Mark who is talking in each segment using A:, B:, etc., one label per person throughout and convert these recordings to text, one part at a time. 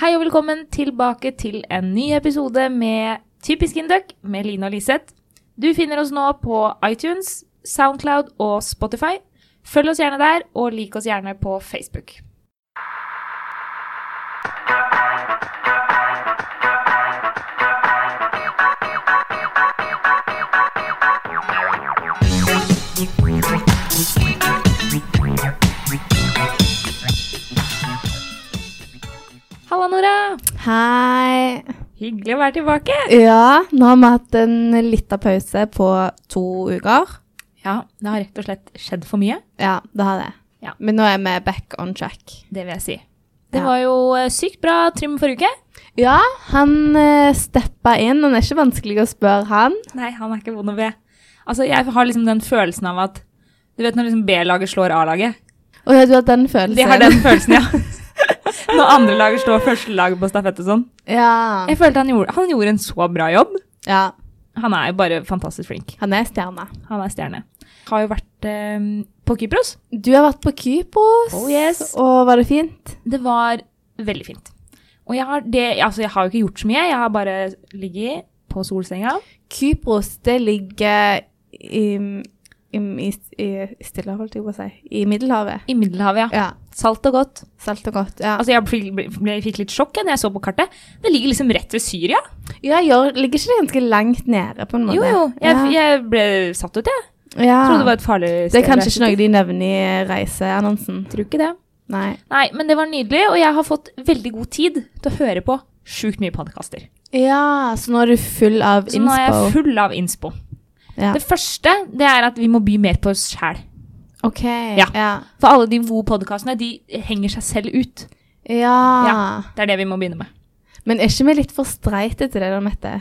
A: Hei og velkommen tilbake til en ny episode med Typisk Induc med Line og Liseth. Du finner oss nå på iTunes, Soundcloud og Spotify. Følg oss gjerne der, og lik oss gjerne på Facebook. Halla, Nora!
B: Hei.
A: Hyggelig å være tilbake.
B: Ja, nå har vi hatt en lita pause på to uker.
A: Ja, det har rett og slett skjedd for mye.
B: Ja, det har det.
A: Ja.
B: Men nå er vi back on track.
A: Det vil jeg si. Det
B: Ja.
A: var jo eh, sykt bra trim forrige uke.
B: Ja, han eh, steppa inn. Han er ikke vanskelig å spørre, han.
A: Nei, han er ikke vond å be. Altså, jeg har liksom den følelsen av at Du vet når liksom B-laget slår A-laget?
B: Å ja, du har den følelsen.
A: De har den følelsen, ja. Når andre laget slår første laget på stafett og sånn.
B: Ja.
A: Jeg følte han gjorde, han gjorde en så bra jobb.
B: ja.
A: Han er jo bare fantastisk flink.
B: Han er stjerne.
A: Han er stjerne. Har jo vært eh, på Kypros.
B: Du har vært på Kypros,
A: Oh, yes.
B: og var det fint?
A: Det var veldig fint. Og jeg har, det, altså, jeg har jo ikke gjort så mye. Jeg har bare ligget på solsenga.
B: Kypros, det ligger i, i, i, i Stillehavet, holdt jeg på å si. I Middelhavet.
A: I Middelhavet, ja.
B: Ja.
A: Salt og godt.
B: Salt og godt. Ja,
A: Altså, jeg ble, ble, fikk litt sjokk jeg, når jeg så på kartet. Det ligger liksom rett ved Syria.
B: ja gjør, ligger ikke det ganske langt nede, på en måte?
A: Jo, jo. Jeg,
B: ja.
A: jeg ble satt ut, jeg.
B: Ja.
A: Trodde Ah. det var et farlig sted.
B: Det er kanskje
A: å
B: ikke
A: reise
B: noe de nevner i reiseannonsen.
A: til. Tror ikke det.
B: Nei.
A: Nei, men det var nydelig, og jeg har fått veldig god tid til å høre på sjukt mye podkaster.
B: Ja, så nå er du full av
A: Så nå er jeg
B: inspo.
A: full av innspo.
B: Ja.
A: Det første det er at vi må by mer på oss sjæl.
B: OK.
A: Ja.
B: Ja. Ja.
A: For alle de gode podkastene, de henger seg selv ut. Ja. Det er det vi må begynne med.
B: Men er ikke vi litt for streite til det, da, Mette?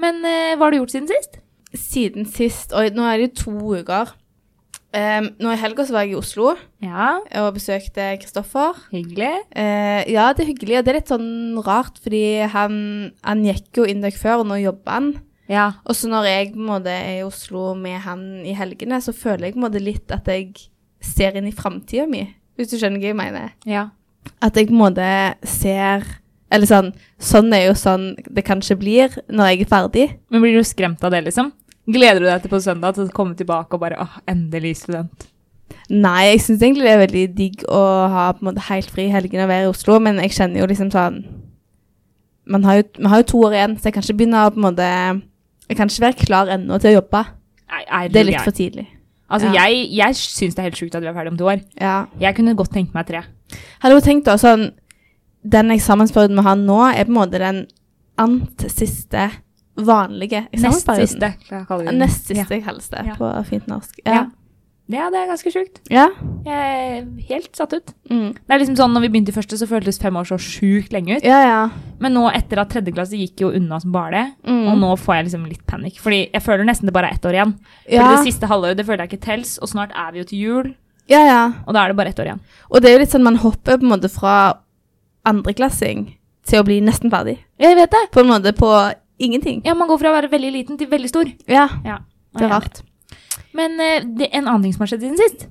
A: Men eh, hva har du gjort siden sist?
B: Siden sist, og nå er det jo to uker Ehm, Nå i helga så var jeg i Oslo
A: Ja,
B: og besøkte Kristoffer.
A: hyggelig.
B: Eh, ja, det er hyggelig, og det er litt sånn rart, fordi han, han gikk jo inn dere før, og nå jobber han.
A: Ja.
B: Og så når jeg på en måte er i Oslo med han i helgene, så føler jeg på en måte litt at jeg ser inn i framtida mi, hvis du skjønner hva jeg mener.
A: ja.
B: At jeg på en måte ser Eller sånn Sånn er jo sånn det kanskje blir når jeg er ferdig.
A: Men blir du skremt av det, liksom? Gleder du deg til på søndag til å komme tilbake og bare åh, endelig student?
B: Nei, jeg syns egentlig det er veldig digg å ha på en måte helt fri i helgene og være i Oslo, men jeg kjenner jo liksom sånn man har jo, Man har jo to år igjen, så jeg kan ikke begynne å på en måte Jeg kan ikke være klar ennå til å jobbe.
A: Nei, er
B: Det er litt for tidlig.
A: Altså,
B: Ja.
A: jeg, jeg syns det er helt sjukt at vi er ferdig om to år.
B: Ja.
A: Jeg kunne godt tenkt meg tre.
B: Hadde hun tenkt da sånn Den eksamensperioden vi har nå, er på en måte den ant siste vanlige
A: Nest
B: eksamensperioden.
A: siste. kan jeg kalle
B: Ja,
A: det.
B: Nest siste, kalles det
A: Ja.
B: på fint norsk.
A: Ja.
B: Ja.
A: Ja, det er ganske sjukt.
B: ja.
A: Jeg er helt satt ut.
B: Mm.
A: Det er liksom sånn, når vi begynte i første, så føltes fem år så sjukt lenge ut.
B: ja, ja.
A: Men nå, etter at tredje klasse gikk jo unna som bare det,
B: Mm.
A: og nå får jeg liksom litt panikk. Fordi jeg føler nesten det bare er ett år igjen. Fordi
B: Ja.
A: det siste halvåret, det føler jeg ikke tels, og snart er vi jo til jul,
B: ja, ja.
A: og da er det bare ett år igjen.
B: Og det er jo litt sånn man hopper på en måte fra andreklassing til å bli nesten ferdig.
A: Jeg vet det!
B: På en måte på ingenting.
A: Ja, man går fra å være veldig liten til veldig stor.
B: Ja,
A: Ja,
B: det er rart.
A: Men eh, det er en annen ting som har skjedd siden sist.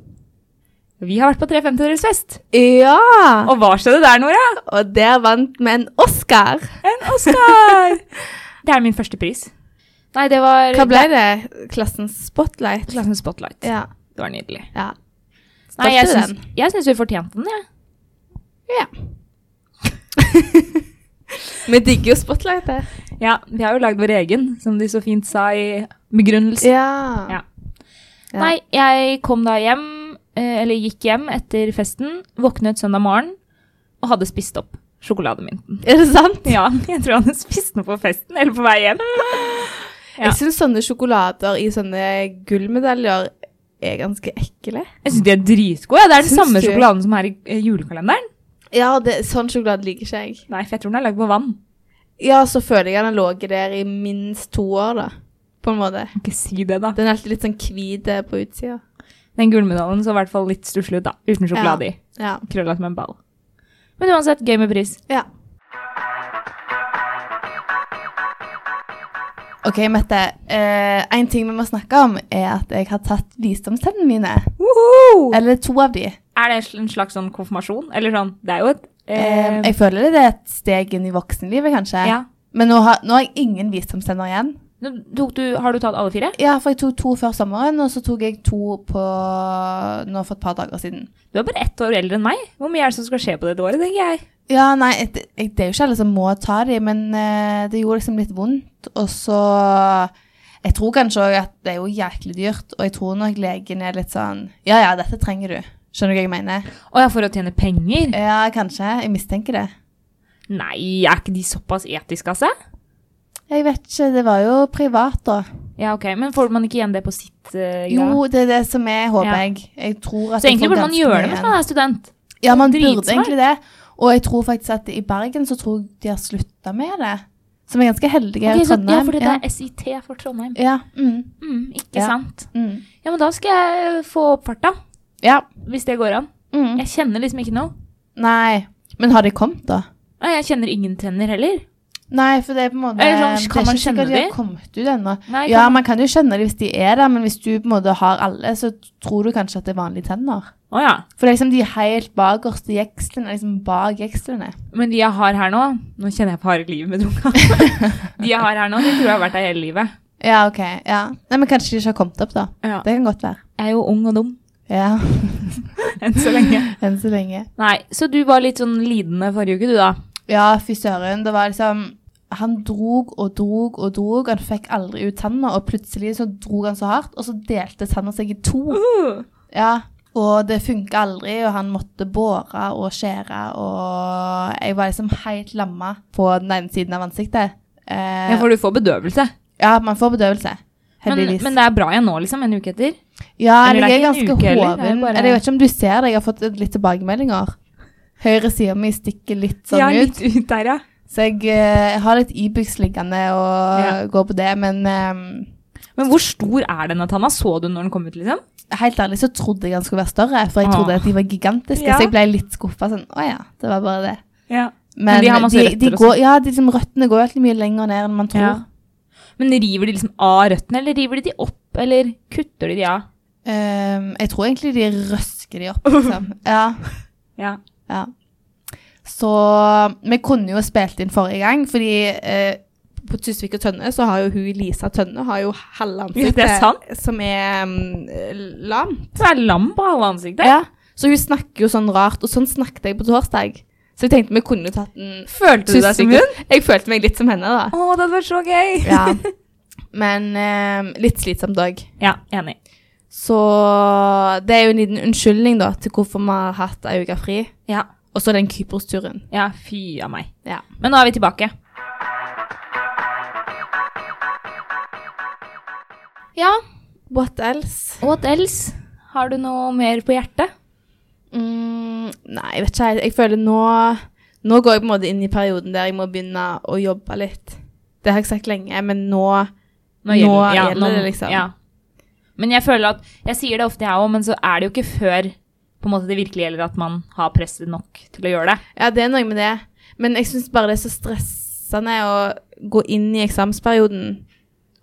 A: Vi har vært på 350-årsfest.
B: Ja!
A: Og hva skjedde der, Nora?
B: Og der vant vi en Oscar.
A: En Oscar! det er min første pris. Nei, det var
B: Hva ble det? Klassens spotlight?
A: Klassens Spotlight.
B: Ja.
A: Det var nydelig.
B: ja.
A: Nei, jeg
B: Stolte du
A: syns, jeg syns vi fortjente den, jeg.
B: Ja. Vi digger jo spotlight, det.
A: Ja. vi har jo lagd vår egen, som de så fint sa i begrunnelsen.
B: Ja.
A: Ja.
B: Ja.
A: Nei, jeg kom da hjem, eh, eller gikk hjem etter festen, våknet søndag morgen og hadde spist opp sjokolademinten.
B: Er det sant?
A: Ja, jeg tror jeg hadde spist den på festen eller på vei hjem. Ja.
B: Jeg syns sånne sjokolader i sånne gullmedaljer er ganske ekle.
A: Jeg syns de er dritgode. Det er den
B: Syns
A: samme
B: du?
A: sjokoladen som er i eh, julekalenderen.
B: Ja, det, sånn sjokolade liker ikke jeg.
A: Nei, for jeg tror den er lagd på vann.
B: Ja, så føler jeg den har ligget der i minst to år, da. På en måte.
A: Kan ikke si det, da.
B: Den er alltid litt sånn hvit eh, på utsida.
A: Den gullmedaljen så i hvert fall litt stusslig ut, da. Uten sjokolade i.
B: Ja.
A: Krølla som en ball. Men uansett, gøy med pris.
B: ja. OK, Mette. Eh, en ting vi må snakke om, er at jeg har tatt visdomstennene mine.
A: Er-
B: Eller to av de.
A: Er det en slags sånn konfirmasjon? Eller sånn, det er jo et
B: Eh,
A: eh,
B: jeg føler det er et steg inn i voksenlivet, kanskje.
A: Ja.
B: Men nå har, nå har jeg ingen visdomstenner igjen.
A: Nå Tok du, har du tatt alle fire?
B: Ja, for jeg tok to før sommeren, og så tok jeg to på nå for et par dager siden.
A: Du er bare ett år eldre enn meg. Hvor mye er det som skal skje på dette året, tenker jeg.
B: Ja, nei, et- jeg, det er jo ikke alle som må ta de, men eh, det gjorde liksom litt vondt. Og så Jeg tror kanskje òg at det er jo jæklig dyrt, og jeg tror nok legen er litt sånn Ja, ja, dette trenger du. Skjønner du hva jeg mener?
A: Å ja, for å tjene penger?
B: Ja, kanskje. Jeg mistenker det.
A: Nei, er ikke de såpass etiske altså? av seg?
B: Jeg vet ikke. Det var jo privat, da.
A: Ja, ok, men får man ikke igjen det på sitt eh, greie?
B: Jo, det er det som er, håper
A: Ja.
B: jeg. Jeg tror at
A: Så altså, egentlig burde man gjøre det
B: med
A: mens man er student.
B: Ja, man
A: Dritsmart.
B: burde egentlig det. Og jeg tror faktisk at i Bergen så tror jeg de har slutta med det. Som er ganske heldige her
A: Ok,
B: i
A: så, ja,
B: Trondheim.
A: for dette
B: ja.
A: er SIT for Trondheim.
B: Ja, mm,
A: Mm, ikke
B: Ja.
A: sant.
B: mm.
A: Ja, men da skal jeg få opp farta,
B: ja.
A: hvis det går an.
B: Mm.
A: Jeg kjenner liksom ikke noe.
B: Nei. Men har de kommet, da?
A: Og jeg kjenner ingen tenner heller.
B: Nei, for det er på en måte
A: Eller sånn, kan man
B: Det er ikke sikkert
A: kjenne
B: de har
A: de?
B: kommet ut ennå.
A: Nei,
B: Ja,
A: kan-
B: man kan jo skjønne det hvis de er der, men hvis du på en måte har alle, så tror du kanskje at det er vanlige tenner.
A: Å ja.
B: For det er liksom de helt bakerste jekslene, liksom bak jekslene.
A: Men de jeg har her nå Nå kjenner jeg på harde livet med drunka. de jeg har her nå, de tror jeg har vært der hele livet.
B: Ja, OK. Ja. Nei, men kanskje de ikke har kommet opp, da.
A: Ja.
B: Det kan godt være.
A: Jeg er jo ung og dum
B: Ja.
A: enn så lenge.
B: Enn så lenge.
A: Nei, så du var litt sånn lidende forrige uke, du da.
B: Ja, fy søren. Det var liksom Han drog og drog og drog. Han fikk aldri ut tanna, og plutselig så drog han så hardt, og så delte tanna seg i to.
A: Uh.
B: Ja. Og det funka aldri, og han måtte båre og skjære, og jeg var liksom helt lamma på den ene siden av ansiktet. Eh,
A: Ja, for du får bedøvelse.
B: ja, man får bedøvelse.
A: Men,
B: Heldigvis.
A: men det er bra igjen nå, liksom, en uke etter.
B: ja,
A: eller det er
B: jeg er
A: ikke en
B: ganske
A: uke heller, det er
B: hoven.
A: bare-
B: Eller Jeg vet ikke om du ser det, jeg har fått litt tilbakemeldinger. Høyre sida mi stikker litt sånn ut.
A: ut der, ja.
B: Så jeg eh, har litt Ibux liggende og
A: Ja.
B: går på det, men eh,
A: Men hvor stor er denne tanna? Så du når den kom ut, liksom?
B: helt ærlig så trodde jeg han skulle være større, for jeg
A: Åh.
B: trodde at de var gigantiske,
A: Ja.
B: så jeg ble litt skuffa. Sånn, å ja, det var bare det.
A: Ja.
B: Men,
A: de har masse
B: de,
A: røtter og
B: går, ja, de, liksom, røttene går jo alltid mye lenger ned enn man tror.
A: Ja. Men river de liksom av røttene, eller river de de opp, eller kutter de de av?
B: Ehm, jeg tror egentlig de røsker de opp, liksom. ja,
A: Ja.
B: ja. Så vi kunne jo spilt inn forrige gang, fordi eh, på Tusvik og Tønne så har jo hun Lisa Tønne har jo halve
A: Ja, det
B: ansiktet
A: er sant.
B: som er mm, lam.
A: Så er det lam på halve ansiktet.
B: Ja, så hun snakker jo sånn rart, og sånn snakket jeg på torsdag. Så jeg tenkte vi kunne jo tatt en
A: Følte du deg som hun?
B: Jeg følte meg litt som henne, da.
A: Å, det hadde vært så gøy!
B: Ja. Men eh, litt slitsomt òg.
A: Ja, enig.
B: Så det er jo en liten unnskyldning da, til hvorfor vi har hatt ei uke fri.
A: Ja.
B: Og så den Kypros-turen.
A: ja, fy av meg.
B: Ja.
A: Men nå er vi tilbake.
B: ja. What else?
A: What else? Har du noe mer på hjertet?
B: Mm, nei, jeg vet ikke. Jeg, jeg føler nå Nå går jeg på en måte inn i perioden der jeg må begynne å jobbe litt. Det har jeg sagt lenge, men nå Nå gjelder det, liksom.
A: Ja. Men jeg føler at, jeg sier det ofte jeg òg, men så er det jo ikke før på en måte det virkelig gjelder at man har presset nok til å gjøre det.
B: Ja, det er noe med det. Men jeg syns bare det er så stressende å gå inn i eksamensperioden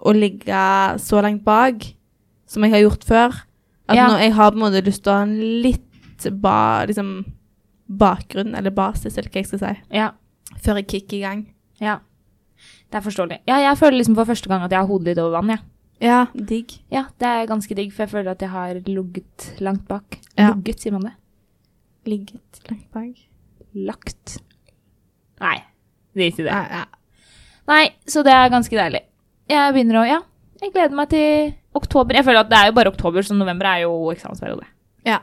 B: og ligge så langt bak som jeg har gjort før. At
A: Ja.
B: nå, jeg har på en måte lyst til å ha en litt ba, liksom, bakgrunn, eller basis, eller hva jeg skal si,
A: Ja,
B: før jeg kicker i gang.
A: ja. Det er forståelig. Ja, jeg føler liksom for første gang at jeg har hodet litt over vann, jeg.
B: Ja, digg.
A: Ja. det er ganske digg, for jeg føler at jeg har ligget langt bak.
B: Ja.
A: Ligget, sier man det?
B: Ligget langt bak.
A: Lagt. Nei, drit i det.
B: Ja, ja.
A: Nei, så det er ganske deilig. Jeg begynner å Ja, jeg gleder meg til oktober. Jeg føler at det er jo bare oktober, så november er jo eksamensperiode.
B: ja,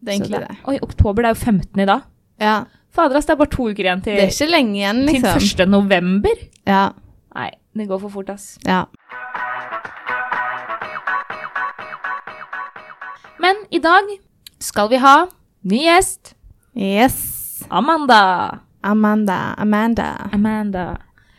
B: det
A: Så
B: er egentlig det.
A: Oi, oktober, det er jo 15 i dag.
B: Ja.
A: Fader, ass, det er bare to uker igjen til,
B: Det er ikke lenge igjen,
A: til
B: liksom.
A: 1. november.
B: Ja,
A: Nei, det går for fort, ass.
B: ja.
A: Men i dag skal vi ha ny gjest.
B: Yes.
A: Amanda.
B: Amanda. Amanda.
A: Amanda.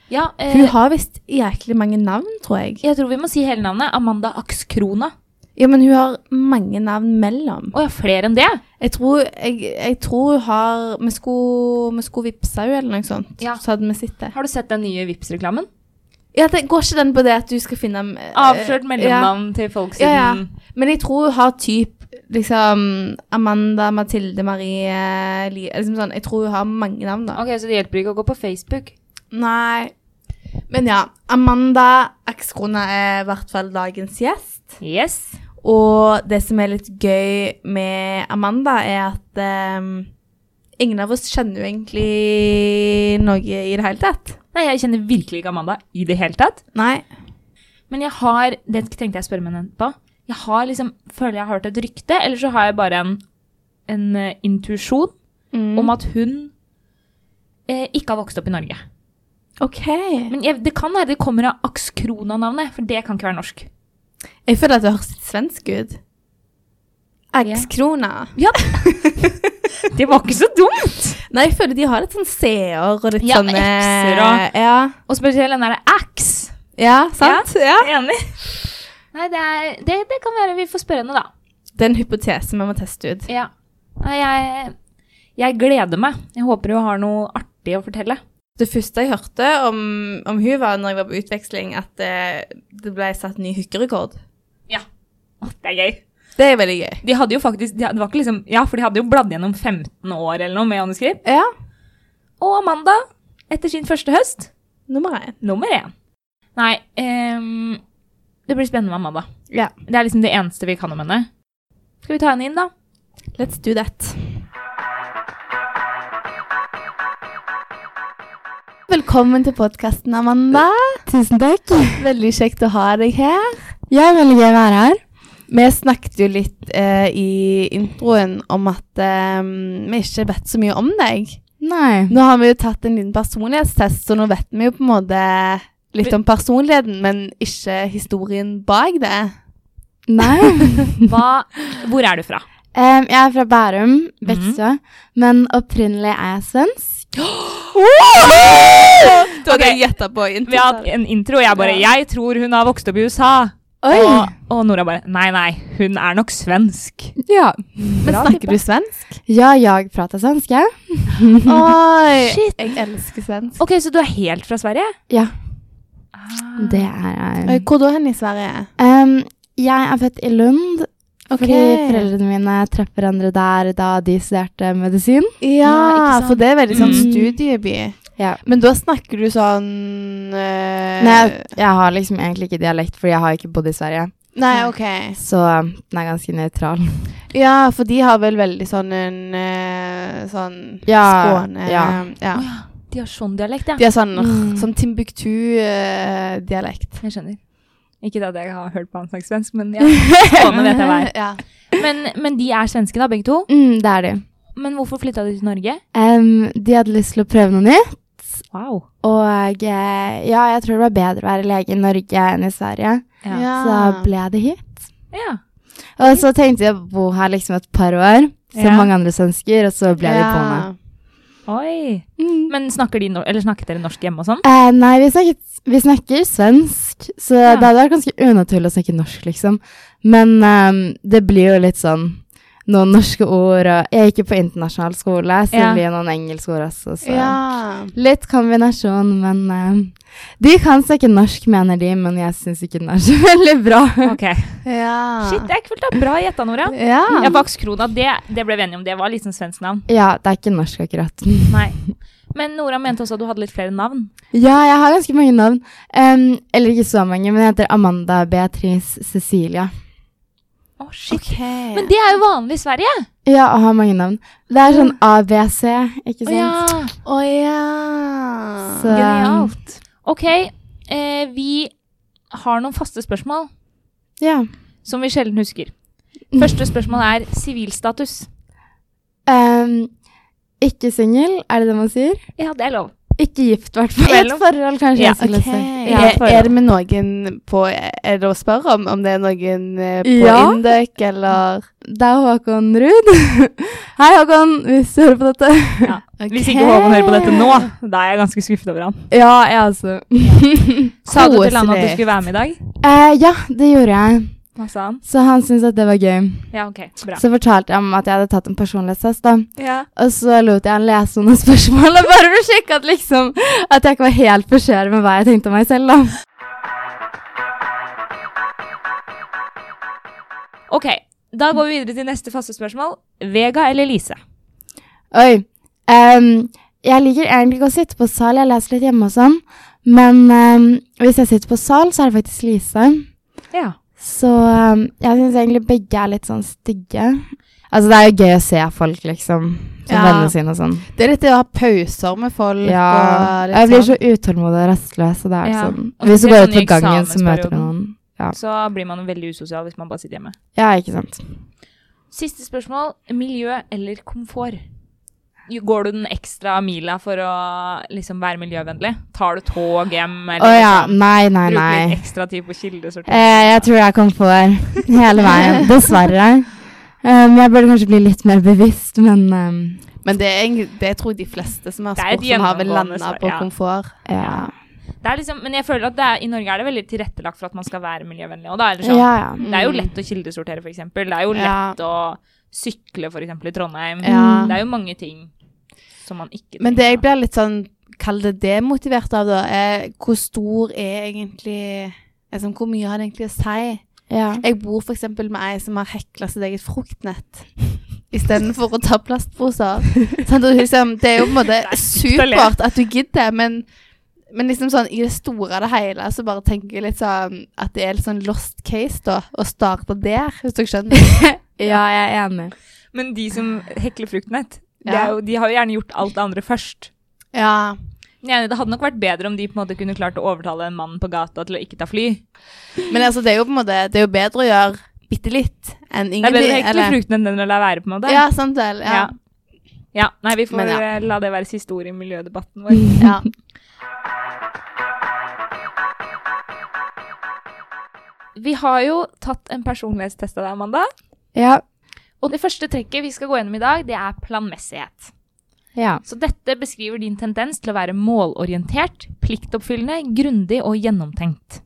A: Ja,
B: Hun
A: eh,
B: har visst jæklig mange navn, tror jeg.
A: jeg tror vi må si hele navnet. Amanda Akskrona.
B: Ja, men hun har mange navn mellom.
A: Å ja, flere enn det?
B: Jeg tror, jeg, jeg tror hun har Vi skulle, vi skulle vippse henne eller noe sånt.
A: Ja.
B: Så hadde vi sett det.
A: Har du sett den nye Vipps-reklamen?
B: Ja, det går ikke den på det at du skal finne eh,
A: Avslørt
B: ja.
A: mellomnavn til folk siden
B: Ja, ja. Men jeg tror hun har typ liksom Amanda, Mathilde, Marie Li- liksom sånn, Jeg tror hun har mange navn, da.
A: Ok, Så det hjelper ikke å gå på Facebook?
B: Nei. Men ja. Amanda Akskrona er i hvert fall dagens gjest.
A: Yes.
B: Og det som er litt gøy med Amanda, er at ehm, ingen av oss kjenner jo egentlig noe i det hele tatt.
A: Nei, jeg kjenner virkelig ikke Amanda i det hele tatt.
B: Nei.
A: Men jeg har Det tenkte jeg å spørre meg henne på. Jeg har liksom, føler jeg har hørt et rykte, eller så har jeg bare en, en eh, intuisjon
B: Mm.
A: om at hun eh, ikke har vokst opp i Norge.
B: OK.
A: Men jeg, det kan være det kommer av Akskrona-navnet, for det kan ikke være norsk.
B: Jeg føler at det høres litt svensk ut. Akskrona.
A: Ja, Det var ikke så dumt!
B: Nei, jeg føler de har litt sånn seer og litt
A: Ja,
B: sånn eh,
A: ekser og-
B: Ja,
A: Og spesielt den derre Ax.
B: ja, sant? Ja.
A: Enig? Nei, det, er, det, det kan være vi får spørre henne, da.
B: Det er en hypotese vi må teste ut.
A: Ja. Nei, jeg, jeg gleder meg. Jeg håper hun har noe artig å fortelle.
B: Det første jeg hørte om, om hun var når jeg var på utveksling, at eh, det ble satt ny hookerekord.
A: Å, Det er gøy.
B: Det er veldig gøy.
A: De hadde jo faktisk de, Det var ikke liksom Ja, for de hadde jo bladd gjennom 15 år eller noe med manuskript.
B: Ja.
A: Og Amanda, etter sin første høst,
B: Nummer én.
A: nummer én. Nei, ehm, det blir spennende med Amanda.
B: Ja.
A: Det er liksom det eneste vi kan om henne. Skal vi ta henne inn, da?
B: Let's do that. Velkommen til podkasten, Amanda.
C: Tusen takk.
B: Veldig kjekt å ha deg her.
C: Jeg er veldig gøy å være her.
B: Vi snakket jo litt eh, i introen om at eh, vi ikke vet så mye om deg.
C: Nei.
B: Nå har vi jo tatt en liten personlighetstest, så nå vet vi jo på en måte litt om personligheten, men ikke historien bak det.
C: Nei.
A: Hva, hvor er du fra?
C: Em, jeg er fra Bærum,
B: Mhm.
C: Vekstø, men opprinnelig er jeg svensk.
B: Da
A: hadde jeg
B: gjetta på
A: Vi har hatt en intro, og jeg bare 'Jeg tror hun har vokst opp i USA'.
C: Oi!
A: Og, og Nora bare 'Nei, nei, hun er nok svensk'.
C: Ja.
B: Men snakker du svensk?
C: ja, jeg prater svensk, jeg.
B: Oi! Jeg elsker svensk.
A: Ok, så du er helt fra Sverige? Ah.
C: Ja, det Ehm, er jeg.
B: Oi, Hvor da hen i Sverige?
C: Em, jeg er født i Lund, fordi
B: Ok.
C: foreldrene mine traff hverandre der da de studerte medisin.
B: Ja,
A: ikke sant.
B: for det er veldig sånn
C: Mm.
B: studieby.
C: Ja.
B: Men da snakker du sånn eh,
C: Men jeg, jeg har liksom egentlig ikke dialekt, fordi jeg har ikke bodd i Sverige.
B: Nei, OK.
C: Så den er ganske nøytral.
B: Ja, for de har vel veldig sånn en eh, sånn
C: Ja,
B: Skåne
C: ja.
B: ja.
A: Å ja, de har sånn dialekt, ja.
B: De har sånn,
C: Mm.
B: sånn Timbuktu-dialekt.
A: Jeg skjønner. Ikke at jeg har hørt på han snakke svensk, men ja. Skåne vet jeg hva er.
B: ja.
A: Men, men de er svenske, da, begge to.
C: Mm, det er de.
A: Men hvorfor flytta de til Norge?
C: Em, de hadde lyst til å prøve noe nytt.
A: Wow.
C: Og eh, ja, jeg tror det var bedre å være lege i Norge enn i Sverige.
A: Ja.
B: Ja.
C: Så da ble jeg det hit.
A: ja.
C: Og så tenkte jeg å bo her liksom et par år, som
A: Ja.
C: mange andre svensker, og så ble de på meg.
A: Oi.
C: Mm.
A: Men snakker de no eller snakket dere norsk hjemme og sånn?
C: Eh, nei, vi, snakket, vi snakker svensk, så
A: Ja.
C: det hadde vært ganske unaturlig å snakke norsk, liksom. Men eh, det blir jo litt sånn noen norske ord, og jeg gikk jo på internasjonal skole, så
A: Ja.
C: det blir noen engelske ord også. Så.
B: Ja.
C: Litt kombinasjon, men eh, de kan snakke norsk, mener de, men jeg syns ikke den er så veldig bra.
A: Ok.
B: Ja.
A: Shit, det er kult. da. Bra gjetta, Nora.
B: Ja.
A: Ja, Bax Krona, det, det ble vi enige om. Det var litt sånn svensk navn.
C: Ja, det er ikke norsk akkurat.
A: Nei. Men Nora mente også at du hadde litt flere navn.
C: Ja, jeg har ganske mange navn. Em, eller ikke så mange, men jeg heter Amanda Beatrice Cecilia.
A: Å, shit.
B: Ok.
A: Men det er jo vanlig i Sverige.
C: Ja, jeg har mange navn. Det er sånn ABC, ikke sant?
A: Å ja.
B: Å ja.
C: Så,
A: Genialt. Ok, eh, vi har noen faste spørsmål
C: Ja.
A: som vi sjelden husker. Første spørsmål er sivilstatus.
C: Em, ikke singel, er det det man sier?
A: Ja, det er lov.
C: Ikke gift, i hvert fall. I et
A: Mellom.
C: forhold, kanskje.
A: Ja,
C: jeg skulle
B: Ok.
C: si.
A: Ja,
B: er, er det med noen på Er det å spørre om, om det er noen eh, på
C: Ja.
B: Indøk, eller
C: Det er Håkon Ruud. Hei, Håkon, hvis du hører på dette.
A: Hvis ikke Håkon hører på dette nå, da er jeg ganske skuffet over han.
C: Ja, jeg også.
A: Sa du til han at du
B: Koselig.
A: skulle være med i dag?
C: Eh, ja, det gjorde jeg.
A: Hva sa han?
C: Så han syntes at det var gøy.
A: Ja, OK. Bra.
C: Så fortalte jeg ham at jeg hadde tatt en personlighetstest, da.
A: Ja.
C: Og så lot jeg han lese noen spørsmål, og bare for å sjekke at liksom At jeg ikke var helt på skjæret med hva jeg tenkte om meg selv, da.
A: OK. Da går vi videre til neste faste spørsmål. Vega eller Lise?
C: Oi. ehm, jeg liker egentlig ikke å sitte på sal, jeg leser litt hjemme og sånn. Men ehm, hvis jeg sitter på sal, så er det faktisk Lise.
A: Ja.
C: Så ehm, jeg syns egentlig begge er litt sånn stygge. Altså, det er jo gøy å se folk, liksom. Som
B: Ja.
C: vennene sine og sånn.
B: Det er litt det å ha pauser med folk
C: Ja.
B: og litt
C: Jeg blir
B: sånn.
C: så utålmodig og rastløs, og det er
A: Ja.
C: sånn
A: Og
C: Hvis du
A: spesielt
C: går
A: sånn
C: ut
A: i
C: på gangen, så møter du
A: eksamensperioden.
C: noen. Ja.
A: Så blir man veldig usosial hvis man bare sitter hjemme.
C: ja, ikke sant.
A: Siste spørsmål. Miljø eller komfort? Jo, Går du den ekstra mila for å liksom være miljøvennlig? Tar du tog hjem? Eller
C: Å ja.
A: liksom
C: Nei, nei, nei.
A: Bruker litt ekstra tid på kildesortering?
C: Eh, jeg tror jeg kom for hele veien. Dessverre. Um, jeg burde kanskje bli litt mer bevisst, men um,
B: Men det, er, egentlig- det tror jeg de fleste som har
A: Det er et
B: spurt, som har vel
A: gjennomgående
B: landa
A: svar,
B: på
A: ja.
B: komfort.
C: eh, ja.
A: Det er liksom, men jeg føler at det er, i Norge er det veldig tilrettelagt for at man skal være miljøvennlig. Og da er det
C: Ja,
A: sånn,
C: ja.
A: Det er jo lett å kildesortere, f.eks. Det er jo
B: Ja.
A: lett å sykle, f.eks. i Trondheim.
B: Ja.
A: Det er jo mange ting som man ikke
B: Men det jeg blir litt sånn Kall det demotivert av, da, er hvor stor er egentlig altså, Hvor mye har det egentlig å si?
C: ja.
B: Jeg bor f.eks. med ei som har hekla sitt eget fruktnett istedenfor å ta plastposer. Sånn, og liksom, det er jo på en måte
A: å le.
B: supert at du gidder, men, men liksom sånn, i det store og det hele så bare tenker jeg litt sånn at det er litt sånn lost case, da, å starte der, hvis du skjønner.
C: Ja, jeg er enig.
A: Men de som hekler fruktnett, det
B: Ja.
A: er jo, de har jo gjerne gjort alt det andre først.
B: Ja.
A: Men jeg er enig, det hadde nok vært bedre om de på en måte kunne klart å overtale en mann på gata til å ikke ta fly.
B: Men altså, det er jo på en måte Det er jo bedre å gjøre bitte litt enn
A: Det er
B: ingenting.
A: bedre å hekle
B: eller-
A: fruktnett enn å la være, på en måte.
B: Ja, sant vel.
A: ja.
B: Ja.
A: Ja, Nei, vi får
B: Men ja.
A: eh, la det være siste ord i miljødebatten vår.
B: ja.
A: Vi har jo tatt en personlighetstest av deg, Amanda.
C: Ja.
A: Og det første trekket vi skal gå gjennom i dag, det er planmessighet.
C: ja.
A: Så dette beskriver din tendens til å være målorientert, pliktoppfyllende, grundig og gjennomtenkt.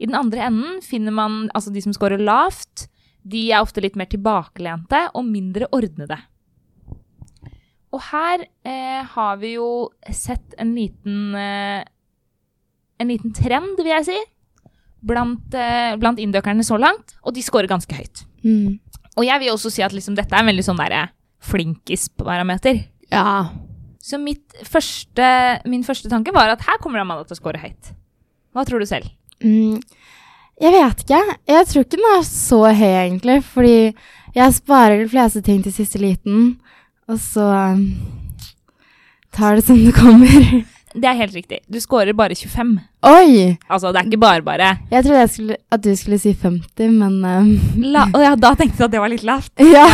A: I den andre enden finner man altså de som scorer lavt. De er ofte litt mer tilbakelente og mindre ordnede. Og her eh, har vi jo sett en liten eh, en liten trend, vil jeg si, blant, eh, blant indøkerne så langt, og de scorer ganske høyt.
C: Mm.
A: Og jeg vil også si at liksom, dette er en veldig sånn derre flinkis-parameter.
B: ja.
A: Så mitt første, min første tanke var at her kommer Amanda til å score høyt. Hva tror du selv?
C: Mm. Jeg vet ikke. Jeg tror ikke den er så høy, egentlig. Fordi jeg sparer de fleste ting til siste liten, og så um, tar det som det kommer.
A: Det er helt riktig. Du scorer bare 25.
C: Oi!
A: Altså, det er ikke bare bare.
C: Jeg trodde jeg skulle, at du skulle si 50, men um,
A: La og ja, da tenkte jeg at det var litt lavt.
C: ja.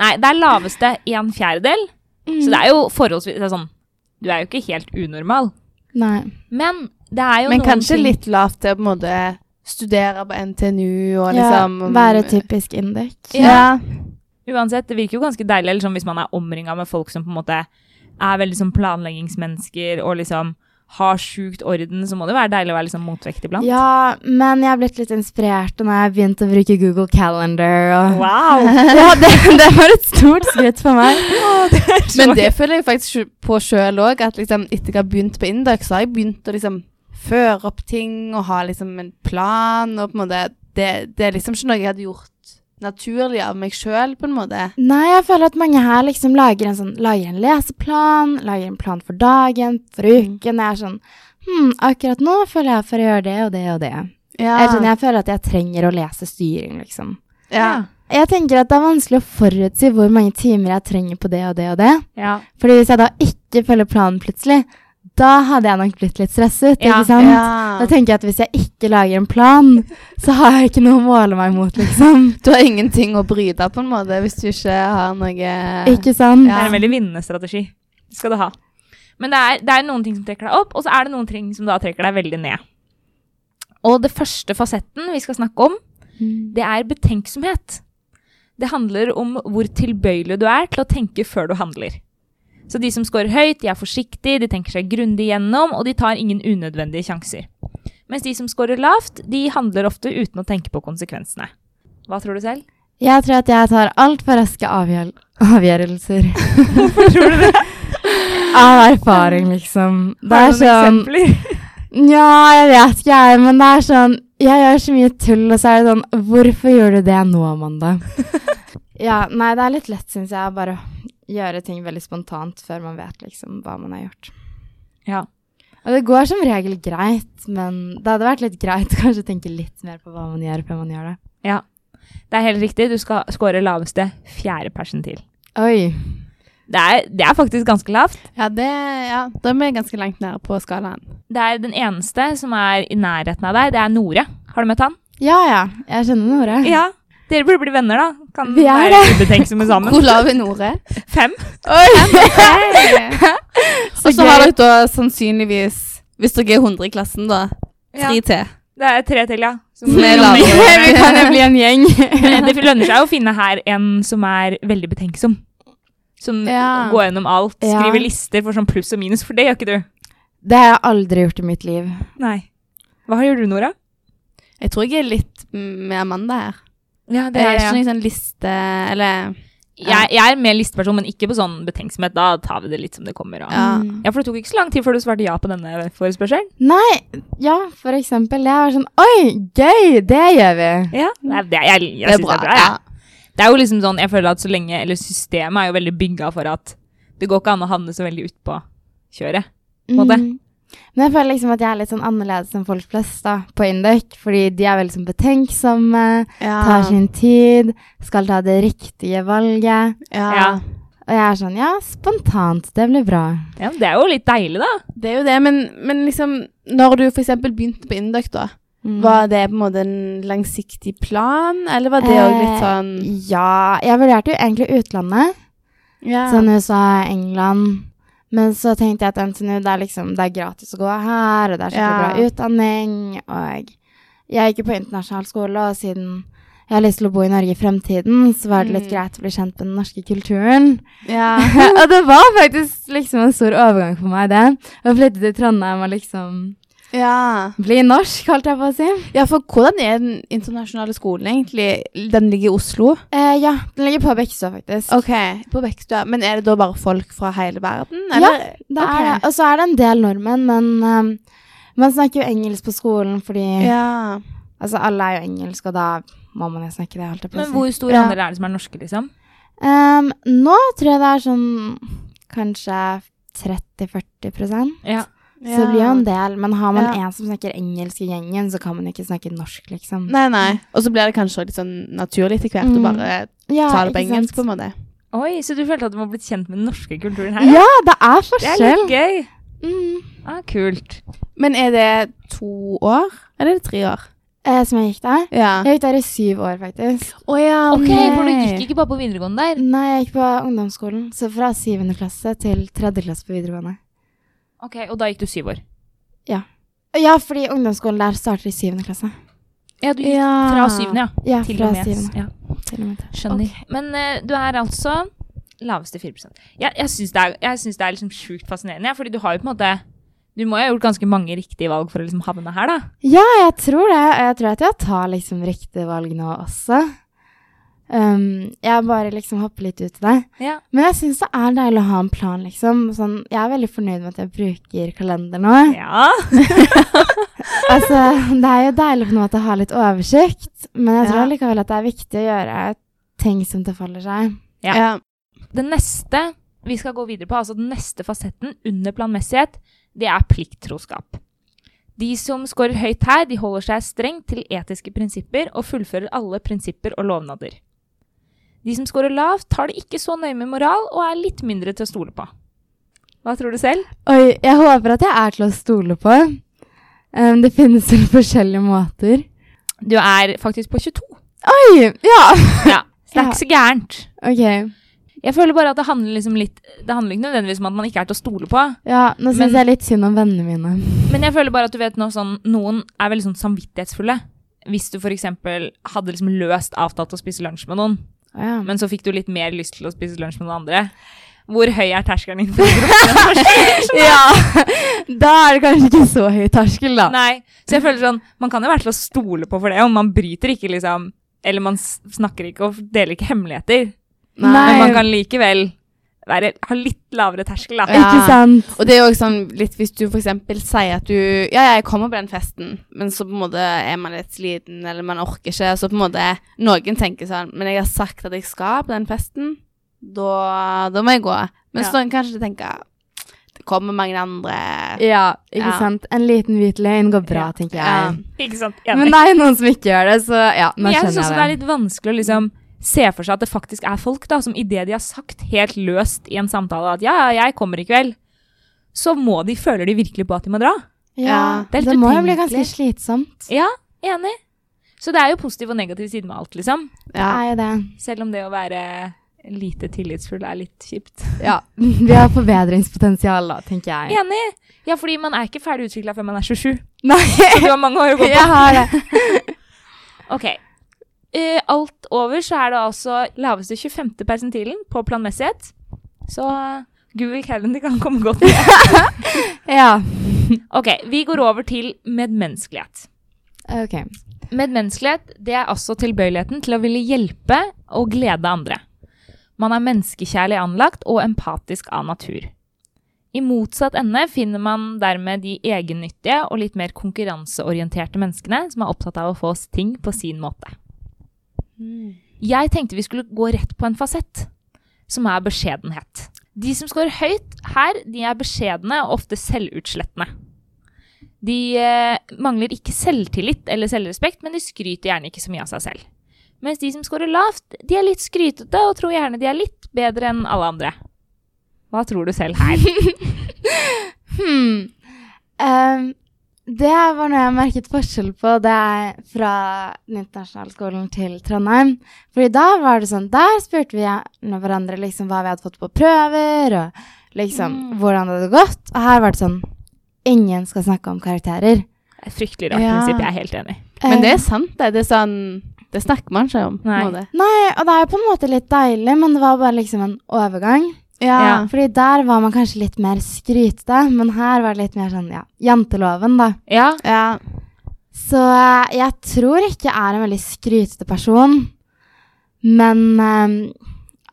A: Nei, det er laveste en fjerdedel. Så det er jo forholdsvis det er sånn Du er jo ikke helt unormal.
C: Mm. Nei.
A: Men det er jo
B: Men
A: noen
B: kanskje
A: ting
B: litt lavt til å på en måte studere på NTNU og
C: Ja,
B: liksom
C: være typisk indek.
B: Ja.
A: Uansett, det virker jo ganske deilig eller sånn, hvis man er omringa med folk som på en måte er veldig sånn planleggingsmennesker og liksom har sjukt orden, så må det være deilig å være liksom motvekt iblant.
C: Ja, men jeg har blitt litt inspirert når jeg har begynt å bruke Google Calendar. Og...
A: Wow!
C: Ja, det, det var et stort skritt for meg.
B: Men det føler jeg faktisk sj- på sjøl òg, at liksom, etter jeg har begynt på Induc, så har jeg begynt å liksom føre opp ting og ha liksom en plan og på en måte Det, det er liksom ikke noe jeg hadde gjort naturlig av meg sjøl, på en måte.
C: Nei, jeg føler at mange her liksom lager en, sånn, lager en leseplan, lager en plan for dagen, for
B: Mm.
C: uken. Jeg er sånn Hm, akkurat nå føler jeg for å gjøre det og det og det.
B: Ja.
C: Jeg, sånn, jeg føler at jeg trenger å lese styring, liksom.
B: ja.
C: Jeg tenker at det er vanskelig å forutsi hvor mange timer jeg trenger på det og det og det.
A: Ja.
C: Fordi hvis jeg da ikke følger planen plutselig, da hadde jeg nok blitt litt stresset,
A: Ja,
C: ikke sant? Da
B: Ja.
C: tenker jeg at hvis jeg ikke lager en plan, så har jeg ikke noe å måle meg mot, liksom.
B: Du har ingenting å bryte, på en måte, hvis du ikke har noe
C: Ikke sant?
A: Det er
B: Ja.
A: en veldig vinnende strategi. Det skal du ha. Men det er, det er noen ting som trekker deg opp, og så er det noen ting som da trekker deg veldig ned. Og det første fasetten vi skal snakke om,
C: Mm.
A: det er betenksomhet. Det handler om hvor tilbøyelig du er til å tenke før du handler. Så de som scorer høyt, de er forsiktige, de tenker seg grundig gjennom, og de tar ingen unødvendige sjanser. Mens de som scorer lavt, de handler ofte uten å tenke på konsekvensene. Hva tror du selv?
C: Jeg tror at jeg tar altfor raske avgjøl- avgjørelser.
A: Hvorfor tror du det?
C: Av erfaring, liksom. Det
A: Har
C: er
A: du noen
C: sånn
A: eksempler?
C: Nja, jeg vet ikke, jeg, men det er sånn Jeg gjør så mye tull, og så er det sånn Hvorfor gjør du det nå, Amanda? ja, nei, det er litt lett, syns jeg, å bare gjøre ting veldig spontant før man vet liksom hva man har gjort.
A: Ja.
C: Og det går som regel greit, men det hadde vært litt greit å kanskje tenke litt mer på hva man gjør før man gjør det.
A: ja. Det er helt riktig. Du skal score laveste fjerde persentil.
C: Oi.
A: Det er, det er faktisk ganske lavt.
B: Ja, det, ja, da er vi ganske langt nede på skalaen.
A: Det er den eneste som er i nærheten av deg. Det er Nore. Har du møtt han?
C: Ja ja, jeg skjønner Nore.
A: Ja. Dere burde bli venner, da. Kan
C: Mm. Vi er
A: være ubetenksomme sammen.
B: Hvor lav er Nore?
A: Fem.
B: Og så har dere da sannsynligvis, hvis dere er 100 i klassen, da,
A: Ja.
B: tre til.
A: Det er tre til, ja. Som
B: Som er lavere.
C: Vi kan jo bli en gjeng.
A: Men det lønner seg å finne her en som er veldig betenksom. Som
B: Ja.
A: går gjennom alt,
C: Ja.
A: skriver lister for sånn pluss og minus, for det gjør ikke du.
C: Det har jeg aldri gjort i mitt liv.
A: Nei. Hva gjør du, Nora?
B: Jeg tror jeg er litt mm, med Amanda her.
A: Eh, Ja,
B: Det er ikke noen sånn liste, eller...
A: Jeg, jeg er mer listeperson, men ikke på sånn betenksomhet. Da tar vi det litt som det kommer. Og. Ja.
B: Ja.
C: Mm.
A: for det tok ikke så lang tid før du svarte ja på denne forespørselen.
C: Nei, ja, for eksempel. Jeg var sånn Oi, gøy! Det gjør vi.
A: Ja. Nei, det, jeg, jeg, synes det er bra. Ja. Det er jo liksom sånn, jeg føler at så lenge, eller systemet er jo veldig bygga for at det går ikke an å havne så veldig utpå kjøret. Måte.
C: Mm. Men jeg føler liksom at jeg er litt sånn annerledes enn folk flest da, på Induc. Fordi de er veldig sånn betenksomme,
B: Ja.
C: tar sin tid, skal ta det riktige valget.
B: Ja.
A: Ja.
C: Og jeg er sånn Ja, spontant. Det blir bra.
A: Ja, det er jo litt deilig, da.
B: Det er jo det, men, men liksom, når du for eksempel begynte på Induc da,
C: Mm.
B: var det på en måte en langsiktig plan, eller var det også litt
C: Eh,
B: sånn...
C: Ja, jeg vurderte jo egentlig utlandet.
B: Ja.
C: Sånn USA, England. Men så tenkte jeg at NTNU, det er liksom, det er gratis å gå her, og det er skikkelig
B: Ja.
C: bra utdanning, og jeg gikk jo på internasjonal skole, og siden jeg har lyst til å bo i Norge i fremtiden, så var det litt
B: Mm.
C: greit å bli kjent med den norske kulturen.
B: ja.
C: og det var faktisk liksom en stor overgang for meg, det. Å flytte til Trondheim og liksom
B: ja.
C: bli norsk, holdt jeg på å si.
B: Ja, for hvordan er den internasjonale skolen egentlig? Den ligger i Oslo?
C: Eh, ja, den ligger på Bekkestua, faktisk.
B: Ok, på Bekstua. Men er det da bare folk fra hele verden?
C: Ja,
B: Eller?
C: Det
B: Ok.
C: er, det. og så er det en del nordmenn, men ehm, man snakker jo engelsk på skolen fordi
B: Ja.
C: Altså, alle er jo engelsk, og da må man jo snakke det. holdt jeg på å
A: Men
C: si.
A: hvor stor
B: Ja.
A: andel er det som er norske, liksom?
C: Ehm, nå tror jeg det er sånn kanskje 30-40 prosent.
A: Ja.
C: Så det blir jo en del. Men har man
B: Ja.
C: en som snakker engelsk i gjengen, så kan man ikke snakke norsk, liksom.
B: Nei, nei. Og så blir det kanskje litt sånn naturlig til hvert å
C: Mm.
B: bare
C: Ja,
B: ta det på
C: ikke sant?
B: engelsk, på en måte.
A: Oi, så du følte at du må blitt kjent med den norske kulturen her?
C: Ja, det er
A: Det er litt
C: forskjell.
A: gøy.
C: Mm.
A: Ah, kult.
B: Men er det to år? Eller er det tre år?
C: Eh, som jeg gikk der.
B: Ja.
C: Jeg gikk der i syv år, faktisk.
B: Å ja,
A: Ok,
B: nei.
A: for du gikk ikke bare på videregående der.
C: Nei, jeg gikk på ungdomsskolen. Så fra syvende klasse til tredje klasse på videregående.
A: Ok, Og da gikk du syv år.
C: Ja, fordi ungdomsskolen der starter i syvende klasse.
A: Ja, du gikk
B: Ja.
A: fra syvende, ja.
C: Ja,
A: Til
C: fra
A: og med.
C: syvende.
A: Ja,
C: Til og med. til.
A: skjønner. Men eh, du er altså laveste 4 Jeg, jeg syns det er, jeg synes det er liksom sjukt fascinerende, ja, fordi du har jo på en måte Du må jo ha gjort ganske mange riktige valg for å liksom havne her, da.
C: Ja, jeg tror det. Og jeg tror at jeg tar liksom riktig valg nå også. Um, jeg bare liksom hopper litt ut i det.
A: Ja.
C: Men jeg syns det er deilig å ha en plan, liksom. Sånn, jeg er veldig fornøyd med at jeg bruker kalender nå.
A: ja.
C: Altså, det er jo deilig på en måte å ha litt oversikt, men jeg tror
B: Ja.
C: allikevel at det er viktig å gjøre ting som tilfaller seg.
A: Ja.
B: Ja.
A: Den neste vi skal gå videre på, altså den neste fasetten under planmessighet, det er plikttroskap. De som scorer høyt her, de holder seg strengt til etiske prinsipper og fullfører alle prinsipper og lovnader. De som scorer lavt, tar det ikke så nøye med moral og er litt mindre til å stole på. Hva tror du selv?
C: Oi, jeg håper at jeg er til å stole på. Um, det finnes vel forskjellige måter.
A: Du er faktisk på 22.
C: Oi! Ja!
A: Ja, så det er ikke så gærent.
C: OK.
A: Jeg føler bare at det handler liksom litt Det handler ikke nødvendigvis om at man ikke er til å stole på.
C: Ja, nå
A: Men-
C: syns jeg litt synd om vennene mine.
A: Men jeg føler bare at du vet nå sånn, noen er veldig sånn samvittighetsfulle. Hvis du f.eks. hadde liksom løst avtalt å spise lunsj med noen,
C: Å ja.
A: men så fikk du litt mer lyst til å spise lunsj med noen andre. Hvor høy er terskelen din? for å droppe den første?
C: Ja, da er det kanskje ikke så høy terskel, da.
A: Nei. Så jeg føler sånn, man kan jo være til å stole på for det, og man bryter ikke liksom Eller man s- snakker ikke og deler ikke hemmeligheter. Men man kan likevel være, ha litt lavere terskel, da.
B: Ja.
C: Ikke sant?
B: Og det er jo også sånn litt hvis du for eksempel sier at du Ja, jeg kommer på den festen, men så på en måte er man litt sliten, eller man orker ikke, så på en måte Noen tenker sånn Men jeg har sagt at jeg skal på den festen, da, da må jeg gå. Mens
A: Ja.
B: noen kanskje tenker Det kommer mange andre.
C: Ja, ikke
B: Ja.
C: sant? En liten hvit løgn går bra, tenker
B: Ja.
C: jeg.
A: Ikke sant?
C: Men det er jo noen som ikke gjør det, så ja, nå
A: Men jeg syns
C: skjønner
A: også det er
C: jeg det.
A: litt vanskelig å liksom se for seg at det faktisk er folk da, som idet de har sagt helt løst i en samtale at ja, ja, jeg kommer i kveld, så må de føler de virkelig på at de må dra.
B: Ja,
A: det er
C: det,
A: litt
C: må jo bli
A: utenkelig.
C: ganske slitsomt.
A: Ja, enig. Så det er jo positiv og negativ side med alt, liksom.
C: Det er jo det.
A: Selv om det å være lite tillitsfull er litt kjipt.
C: Ja, vi har forbedringspotensial da, tenker jeg.
A: Enig! Ja, fordi man er ikke ferdig utvikla før man er 27.
C: Nei,
A: Så du har mange år å gå på.
C: jeg har det.
A: Ok. Eh, alt over så er det altså laveste 25. persentilen på planmessighet. Så eh, Google Calendar kan komme godt med.
C: Ja,
A: Ok, vi går over til medmenneskelighet.
C: ok.
A: Medmenneskelighet det er altså tilbøyeligheten til å ville hjelpe og glede andre. Man er menneskekjærlig anlagt og empatisk av natur. I motsatt ende finner man dermed de egennyttige og litt mer konkurranseorienterte menneskene som er opptatt av å få oss ting på sin måte. Jeg tenkte vi skulle gå rett på en fasett, som er beskjedenhet. De som scorer høyt her, de er beskjedne og ofte selvutslettende. De eh, mangler ikke selvtillit eller selvrespekt, men de skryter gjerne ikke så mye av seg selv. Mens de som scorer lavt, de er litt skrytete og tror gjerne de er litt bedre enn alle andre. Hva tror du selv her?
C: Hmm. Ehm, det var noe jeg merket forskjell på det er fra den internasjonale skolen til Trondheim. Fordi da var det sånn, der spurte vi gjerne hverandre liksom hva vi hadde fått på prøver, og liksom
B: Hmm.
C: hvordan det hadde gått. Og her var det sånn, ingen skal snakke om karakterer.
A: Det er Et fryktelig rart
C: Ja.
A: prinsipp, jeg er helt enig.
B: Men det
C: Ehm,
B: er sant, det. Det er sånn Det snakker man ikke om. på en
A: Nei.
B: måte.
C: Nei, Eh, og det er jo på en måte litt deilig, men det var bare liksom en overgang.
A: Ja.
C: Fordi der var man kanskje litt mer skrytete, men her var det litt mer sånn, ja, janteloven da.
A: Ja,
B: Ja.
C: Så eh, jeg tror ikke jeg er en veldig skrytete person. Men eh,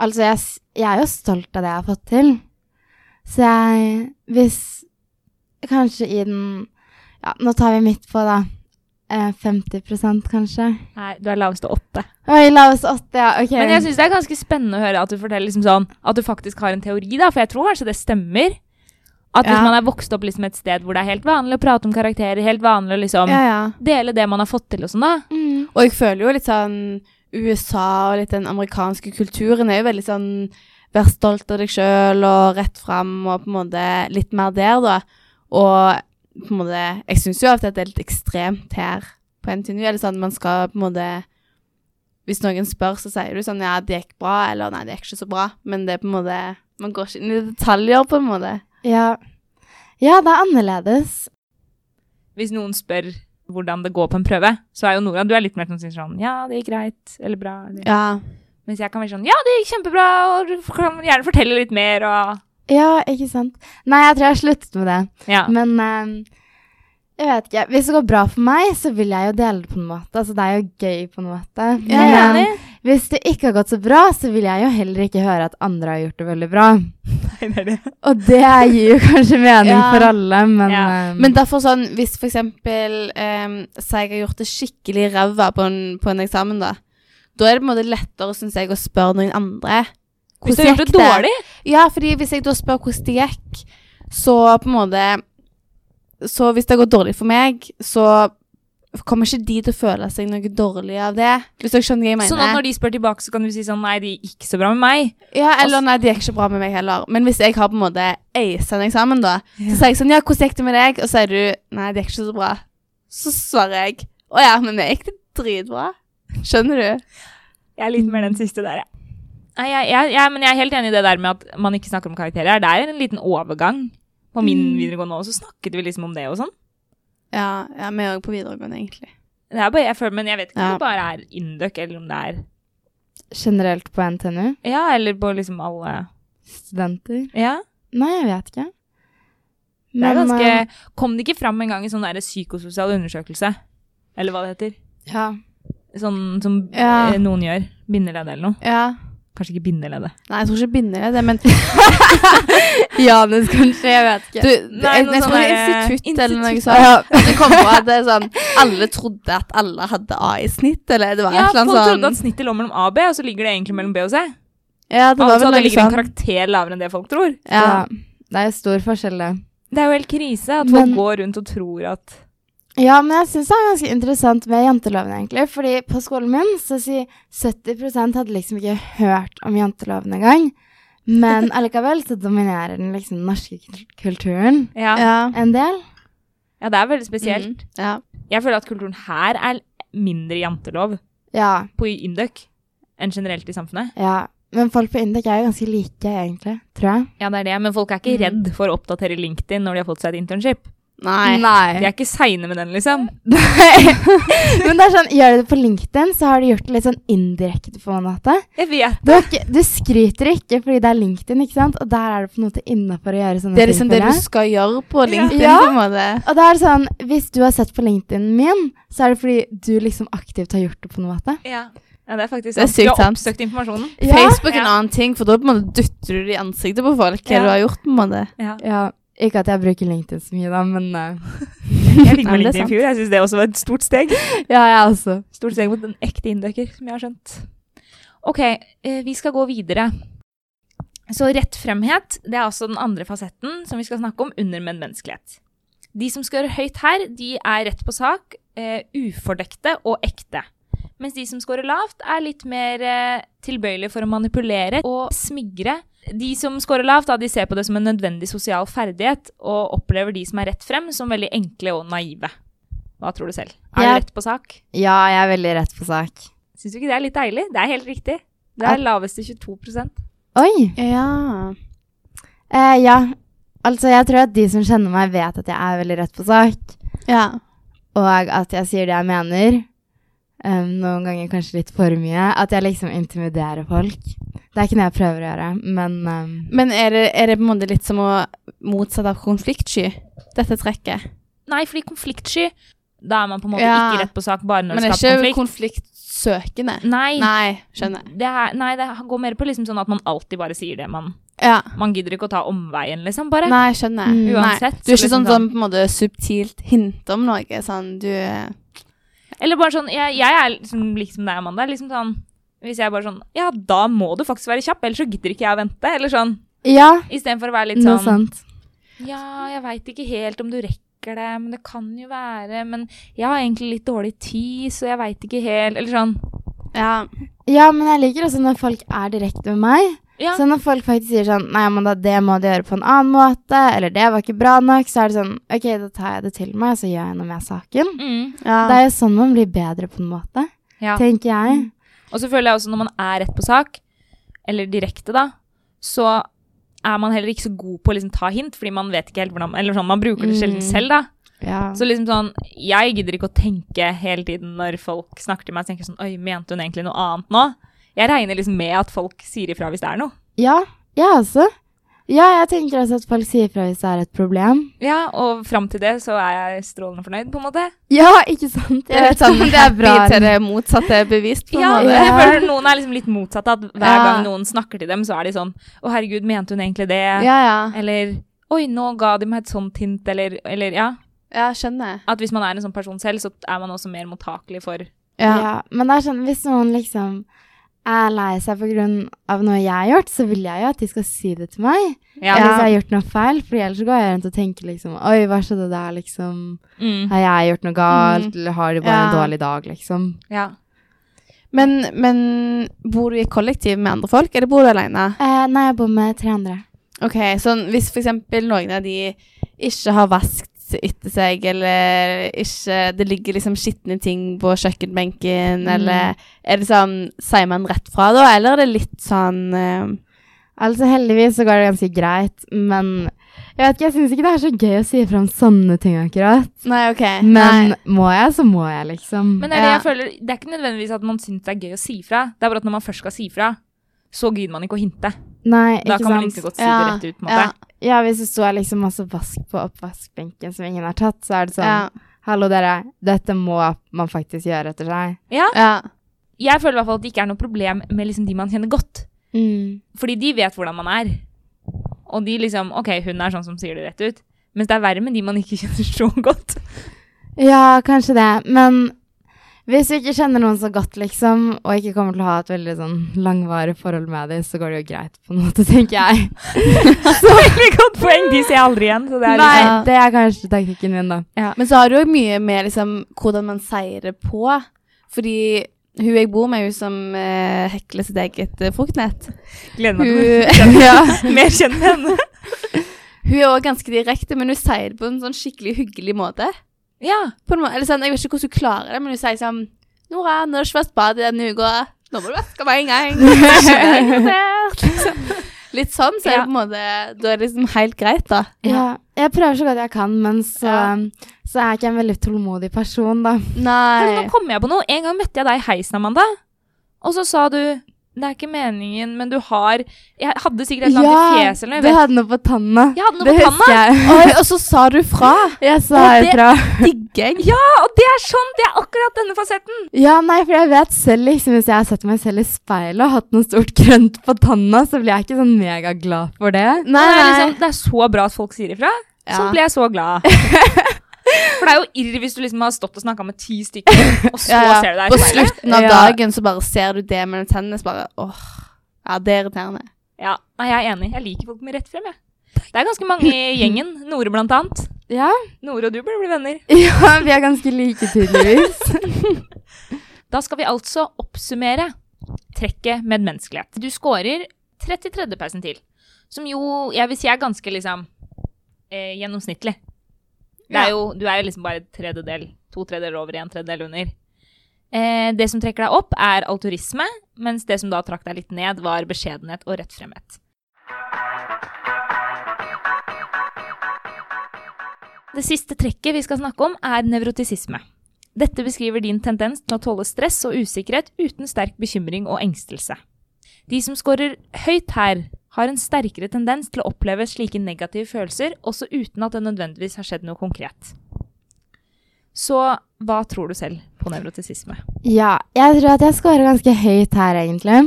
C: altså, jeg, s- jeg er jo stolt av det jeg har fått til. Så jeg Hvis kanskje i den Ja, nå tar vi midt på, da. Eh, 50 kanskje.
A: Nei, du er laveste åtte.
C: Oi, la oss åtte, ja. Ok.
A: Men jeg syns det er ganske spennende å høre at du forteller liksom sånn, at du faktisk har en teori, da, for jeg tror kanskje det stemmer. At hvis
B: Ja.
A: man er vokst opp liksom et sted hvor det er helt vanlig å prate om karakterer, helt vanlig å liksom
B: ja, ja.
A: dele det man har fått til og sånn, da.
C: mm.
B: Og jeg føler jo litt sånn USA og litt den amerikanske kulturen er jo veldig sånn Vær stolt av deg sjøl og rett fram og på en måte litt mer der, da. Og på en måte Jeg syns jo av og til at det er litt ekstremt her på NTNU. Eller sånn man skal på en måte Hvis noen spør, så sier du sånn Ja, det gikk bra, eller Nei, det gikk ikke så bra. Men det er på en måte Man går ikke inn i detaljer, på en måte.
C: ja. ja, det er annerledes.
A: hvis noen spør hvordan det går på en prøve, så er jo Nora du er litt mer som sier sånn Ja, det gikk greit. Eller bra. Eller.
B: Ja.
A: Mens jeg kan være sånn Ja, det gikk kjempebra, og du kan gjerne fortelle litt mer, og
C: Ja, ikke sant. Nei, jeg tror jeg har sluttet med det.
A: Ja.
C: Men eh, jeg vet ikke. Hvis det går bra for meg, så vil jeg jo dele det på en måte. Altså, det er jo gøy på en måte. Men
B: jeg er
C: eh, hvis det ikke har gått så bra, så vil jeg jo heller ikke høre at andre har gjort det veldig bra.
A: Nei, det er det.
C: Og det gir jo kanskje mening
B: Ja.
C: for alle, men
A: Ja.
C: eh,
B: Men derfor sånn, hvis for eksempel um, sier jeg har gjort det skikkelig ræva på, en- på en eksamen, da, da er det på en måte lettere, synes jeg, å spørre noen andre.
A: Hvis du har gjort
B: gikk
A: det dårlig,
B: Ja, fordi hvis jeg da spør hvordan det gikk, så på en måte Så hvis det går dårlig for meg, så kommer ikke de til å føle seg noe dårlig av det. Hvis dere skjønner hva jeg mener?
A: sånn at når de spør tilbake, så kan du si sånn Nei, det gikk ikke så bra med meg.
B: Ja, eller nei, det gikk ikke bra med meg heller. Men hvis jeg har på en måte acet en eksamen, da, så sier jeg sånn Ja, hvordan gikk det med deg? Og så sier du Nei, det gikk ikke så bra. Så svarer jeg Å ja, men det gikk det dritbra. Skjønner du?
A: Jeg er litt mer den siste der, jeg. Nei, jeg, jeg, jeg, men jeg er helt enig i det der med at man ikke snakker om karakterer. Det er en liten overgang. På min
B: Mm.
A: videregående også snakket vi liksom om det og sånn.
B: Ja, ja vi er òg på videregående, egentlig.
A: Det er bare, jeg føler, men jeg vet ikke om
B: Ja.
A: det bare er Induc, eller om det er
C: generelt på NTNU
A: Ja, eller på liksom alle
C: Studenter?
A: Ja.
C: Nei, jeg vet ikke.
A: Det er
C: Men,
A: ganske
C: eh,
A: Kom det ikke fram en gang i sånn der psykososial undersøkelse? Eller hva det heter?
C: ja.
A: Sånn som
B: Ja.
A: eh, noen gjør. Bindeleddet eller noe.
B: Ja.
A: Kanskje ikke bindeleddet.
B: Nei, jeg tror ikke binder er det, men
C: Janus, kanskje. Jeg vet
B: Du,
C: ikke.
A: Nei,
B: jeg,
A: noe
B: jeg
A: sånn
B: tror det er
A: der, eh,
B: institutt eller noe
A: institutt.
B: sånt. At Det kom på at det er sånn Alle trodde at alle hadde A i snitt, eller det var
A: Ja,
B: et
A: folk
B: eller
A: trodde
B: annet
A: at
B: sånn
A: snittet lå mellom A og B, og så ligger det egentlig mellom B og C.
B: Ja, det var
A: Altså
B: vel
A: det
B: noe
A: ligger en
B: sånn.
A: karakter lavere enn det folk tror.
B: Ja.
C: Ja. Det er stor forskjell, det.
A: Det er jo helt krise at folk
C: Men-
A: går rundt og tror at
C: Ja, men jeg syns det er ganske interessant med janteloven, egentlig. Fordi på skolen min så sier 70 hadde liksom ikke hørt om janteloven engang. Men allikevel så dominerer den liksom den norske kul- kulturen
A: Ja, ja.
B: Ja.
C: en del.
A: det er veldig spesielt.
B: Mm. Ja.
A: Jeg føler at kulturen her er mindre jantelov
C: Ja,
A: på Indøk enn generelt i samfunnet.
C: ja. Men folk på Indek er jo ganske like, egentlig. Tror jeg.
A: Ja, det er det, men folk er ikke redd for å oppdatere LinkedIn når de har fått seg et internship.
B: Nei.
A: De er ikke seine med den, liksom.
C: men det er sånn, gjør du det på LinkedIn, så har du gjort det litt sånn indirekte på en måte.
A: Jeg vet.
C: Du, har ikke, du skryter ikke fordi det er LinkedIn, ikke sant? Og der er du på en måte innafor å gjøre sånne
B: Det er liksom det
C: føler
B: du
C: jeg.
B: skal gjøre på LinkedIn,
C: Ja.
B: på en måte.
C: Og da er det sånn, hvis du har sett på LinkedIn min, så er det fordi du liksom aktivt har gjort det på noen måte.
A: Ja. ja, det er faktisk
B: Det er
A: sant. Du har
B: sykt sant.
A: oppsøkt informasjonen.
C: Ja.
B: Facebook er en
A: Ja.
B: annen ting, for da på en måte dytter du det i ansiktet på folk hva
A: Ja.
B: du har gjort. på en måte.
A: Ja.
C: Ja, ikke at jeg bruker LinkedIn så mye da, men eh,
A: Jeg fikk
C: Ja,
A: meg
C: men det
A: LinkedIn
C: er
A: i
C: sant.
A: fjor. Jeg syns det også var et stort steg.
C: ja, jeg også.
A: Stort steg mot en ekte inndøkker, som jeg har skjønt. Ok, eh, vi skal gå videre. Så rettfremhet, det er altså den andre fasetten som vi skal snakke om under medmenneskelighet. De som skal gjøre høyt her, de er rett på sak, eh, ufordekte og ekte. Mens de som scorer lavt, er litt mer eh, tilbøyelige for å manipulere og smigre. De som scorer lavt, da, de ser på det som en nødvendig sosial ferdighet, og opplever de som er rett frem, som veldig enkle og naive. Hva tror du selv? Er
C: Jeg-
A: du rett på sak?
C: Ja, jeg er veldig rett på sak.
A: Syns du ikke det er litt deilig? Det er helt riktig. Det er laveste 22
C: Oi!
B: Ja.
C: Eh, ja, altså jeg tror at de som kjenner meg vet at jeg er veldig rett på sak,
B: ja.
C: og at jeg sier det jeg mener. eh, noen ganger kanskje litt for mye. At jeg liksom intimiderer folk. Det er ikke noe jeg prøver å gjøre, men eh,
B: Men er det, er det på en måte litt som å motsatt av konfliktsky, dette trekket?
A: Nei, fordi konfliktsky Da er man på en måte
B: Ja.
A: ikke rett på sak bare når
B: Men
A: det
B: det
A: skaper
B: er ikke
A: konflikt.
B: konfliktsøkende.
A: nei.
B: Nei, skjønner.
A: Det er, nei, det går mer på liksom sånn at man alltid bare sier det man
B: Ja.
A: Man gidder ikke å ta omveien, liksom. Bare.
B: Nei, skjønner.
C: Mm.
A: Uansett,
B: Nei. Du er ikke
A: liksom
B: sånn som på en måte subtilt hinter om noe, sånn du
A: Eller bare sånn Jeg, jeg er liksom, liksom deg, Amanda. Liksom sånn Hvis jeg bare sånn Ja, da må du faktisk være kjapp, ellers så gidder ikke jeg å vente. Eller sånn.
C: ja,
A: Istedenfor å være litt
C: noe
A: sånn
C: sant.
A: Ja, jeg veit ikke helt om du rekker det, men det kan jo være Men jeg har egentlig litt dårlig tid, så jeg veit ikke helt Eller sånn.
B: Ja.
C: Ja, men jeg liker også når folk er direkte med meg.
A: Ja.
C: Så når folk faktisk sier sånn Nei, men da, det må du gjøre på en annen måte, eller det var ikke bra nok, så er det sånn OK, da tar jeg det til meg, og så gjør jeg noe med saken.
A: Mm.
C: Det er jo sånn man blir bedre, på en måte,
A: Ja.
C: tenker jeg.
A: Og så føler jeg også når man er rett på sak, eller direkte da, så er man heller ikke så god på å liksom ta hint, fordi man vet ikke helt hvordan Eller sånn, man bruker det sjelden
C: Mm.
A: selv, da.
C: Ja.
A: Så liksom sånn Jeg gidder ikke å tenke hele tiden når folk snakker til meg, så tenker jeg sånn Oi, mente hun egentlig noe annet nå? Jeg regner liksom med at folk sier ifra hvis det er noe.
C: ja, jeg også. Ja, jeg tenker også at folk sier fra hvis det er et problem.
A: Ja, og fram til det så er jeg strålende fornøyd, på en måte.
C: Ja, ikke sant?
B: Det er litt sånn det er bra til det motsatte er bevist, på en
A: Ja,
B: måte.
A: jeg føler noen er liksom litt motsatt. At hver
B: Ja.
A: gang noen snakker til dem, så er de sånn Å, herregud, mente hun egentlig det?
B: Ja, ja.
A: Eller Oi, nå ga de meg et sånt hint, eller, eller ja.
B: Ja, skjønner.
A: At hvis man er en sånn person selv, så er man også mer mottakelig for
C: Ja. men det er sånn, hvis noen liksom er lei seg på grunn av noe jeg har gjort, så vil jeg jo at de skal si det til meg.
A: Ja. liksom.
C: Hvis jeg har gjort noe feil, for ellers så går jeg rundt og tenker liksom Oi, hva skjedde der, liksom?
A: Mm,
C: Har jeg gjort noe galt, eller har de bare en
B: Ja.
C: dårlig dag, liksom?
A: ja.
B: Men, men bor du i kollektiv med andre folk, eller bor du alene?
C: Eh, nei, jeg bor med tre andre.
B: Ok, så hvis for eksempel noen av de ikke har vaskt etter seg, eller ikke, det ligger liksom skittende ting på kjøkkenbenken, eller er det sånn, sier man rett fra da, eller er det litt sånn, eh,
C: Altså, heldigvis så går det ganske greit, men jeg vet ikke, jeg syns ikke det er så gøy å si fra om sånne ting akkurat.
B: nei, ok,
C: Men
B: Eh, nei.
C: må jeg, så må jeg, liksom.
A: Men det er det
B: Ja.
A: jeg føler Det er ikke nødvendigvis at man syns det er gøy å si fra. Det er bare at når man først skal si fra, så gidder man ikke å hinte.
C: Nei, ikke sant.
A: Da kan man like godt si det rett ut, på en måte.
C: Ja. ja, hvis det står liksom masse vask på oppvaskbenken som ingen har tatt, så er det sånn
B: Ja.
C: Hallo, dere. Dette må man faktisk gjøre etter seg.
A: Ja.
B: ja.
A: Jeg føler i hvert fall at det ikke er noe problem med liksom de man kjenner godt. Fordi de vet hvordan man er. Og de liksom OK, hun er sånn som sier det rett ut. Mens det er verre med de man ikke kjenner så godt.
C: Ja, kanskje det. Men hvis du ikke kjenner noen så godt, liksom, og ikke kommer til å ha et veldig sånn langvarig forhold med dem, så går det jo greit, på en måte, tenker jeg.
A: Veldig godt poeng! De ser jeg aldri igjen. Så det er
C: Nei,
B: liksom-
C: det er kanskje taktikken min, da.
B: Men så har du òg mye med liksom, hvordan man sier det på. Fordi hun jeg bor med, hun som eh, hekler sitt eget eh, fruktnett
A: liksom Gleder meg til
B: Hun, ja,
A: å mer kjenne henne.
B: hun er òg ganske direkte, men hun sier det på en sånn skikkelig hyggelig måte.
A: Ja.
B: På en måte eller sånn, jeg vet ikke hvordan hun klarer det, men hun sier sånn Nora, nå har det ikke vært bad i denne uka. Nå må du vaske meg en gang. Så skjønner jeg ikke det. Liksom. Litt sånn, så er det på en måte Da er det liksom helt greit, da.
C: Ja, jeg prøver så godt jeg kan, men så,
B: Ja.
C: så er jeg ikke en veldig tålmodig person, da.
A: Herregud,
B: Nei.
A: Nå kommer jeg på noe. En gang møtte jeg deg i heisen, Amanda. Og så sa du Det er ikke meningen, men du har Jeg hadde sikkert et eller annet i fjeset eller noe.
C: du
A: Jeg, vet.
C: hadde noe på tanna.
A: jeg hadde noe
C: det
A: på tanna.
C: husker jeg.
B: Oi, og så sa du fra.
C: Jeg sa
B: Og det-
C: ifra.
B: Digger jeg.
A: Ja, og det er sånn! Det er akkurat denne fasetten.
C: Ja, nei, for jeg vet selv, liksom, hvis jeg har sett meg selv i speilet og hatt noe stort grønt på tanna, så blir jeg ikke sånn megaglad for det.
B: Nei,
A: det, er
B: nei.
A: liksom, det er så bra at folk sier ifra. Sånn ble jeg så glad. For det er jo irr hvis du liksom har stått og snakka med ti stykker, og så
B: Ja, ja.
A: ser du deg
B: På
A: i speilet.
B: slutten av
C: Ja.
B: dagen så bare ser du det mellom tennene, så bare åh. Ja, det er irriterende.
A: Ja, nei, jeg er enig. Jeg liker folk med rett frem, jeg. Det er ganske mange i gjengen. Nore blant annet.
C: Ja,
A: Nore og du burde bli venner.
C: ja vi er ganske like tydeligvis.
A: Da skal vi altså oppsummere trekket medmenneskelighet. Du scorer 33. persentil, som jo jeg vil si er ganske liksom eh, gjennomsnittlig. Det
B: Ja.
A: er jo, du er jo liksom bare et tredjedel, to tredjedeler over, en tredjedel under. Eh, det som trekker deg opp, er alturisme, mens det som da trakk deg litt ned, var beskjedenhet og rettfremhet. Det siste trekket vi skal snakke om, er nevrotisisme. Dette beskriver din tendens til å tåle stress og usikkerhet uten sterk bekymring og engstelse. De som scorer høyt her, har en sterkere tendens til å oppleve slike negative følelser, også uten at det nødvendigvis har skjedd noe konkret. Så hva tror du selv på nevrotisisme?
C: Ja, jeg tror at jeg scorer ganske høyt her, egentlig.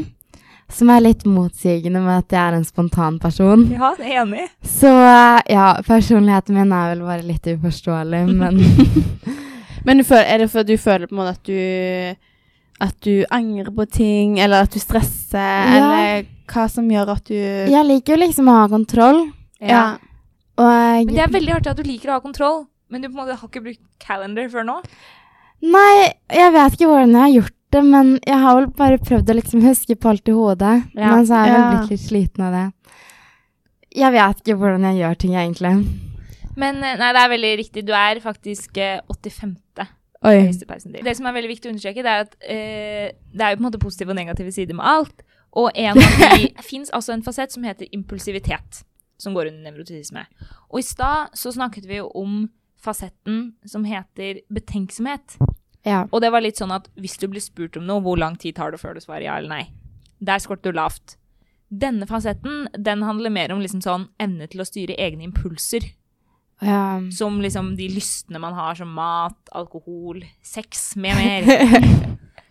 C: Som er litt motsigende med at jeg er en spontan person.
A: Ja, det er enig.
C: Så eh, ja, personligheten min er vel bare litt uforståelig, men
B: Men du føler, er det fordi du føler på en måte at du At du angrer på ting, eller at du stresser, eller hva som gjør at du
C: jeg liker jo liksom å ha kontroll.
B: ja.
C: Og
A: Men det er veldig artig at du liker å ha kontroll, men du på en måte har ikke brukt calendar før nå.
C: Nei, jeg vet ikke hvordan jeg har gjort det, men jeg har vel bare prøvd å liksom huske på alt i hodet.
A: Ja.
C: Men så har jeg vel
B: Ja.
C: blitt litt sliten av det. Jeg vet ikke hvordan jeg gjør ting, egentlig.
A: Men eh, nei, det er veldig riktig. Du er faktisk eh, 85.
C: Oi.
A: høyeste persentil. Det som er veldig viktig å understreke, det er at eh, det er jo på en måte positive og negative sider med alt. Og en av de fins altså en fasett som heter impulsivitet, som går under nevrotisisme. Og i stad så snakket vi jo om fasetten som heter betenksomhet.
C: Ja.
A: Og det var litt sånn at hvis du blir spurt om noe, hvor lang tid tar det før du svarer ja eller nei? Der skorter du lavt. Denne fasetten den handler mer om liksom sånn evne til å styre egne impulser.
C: ja.
A: Som liksom de lystene man har som mat, alkohol, sex med mer.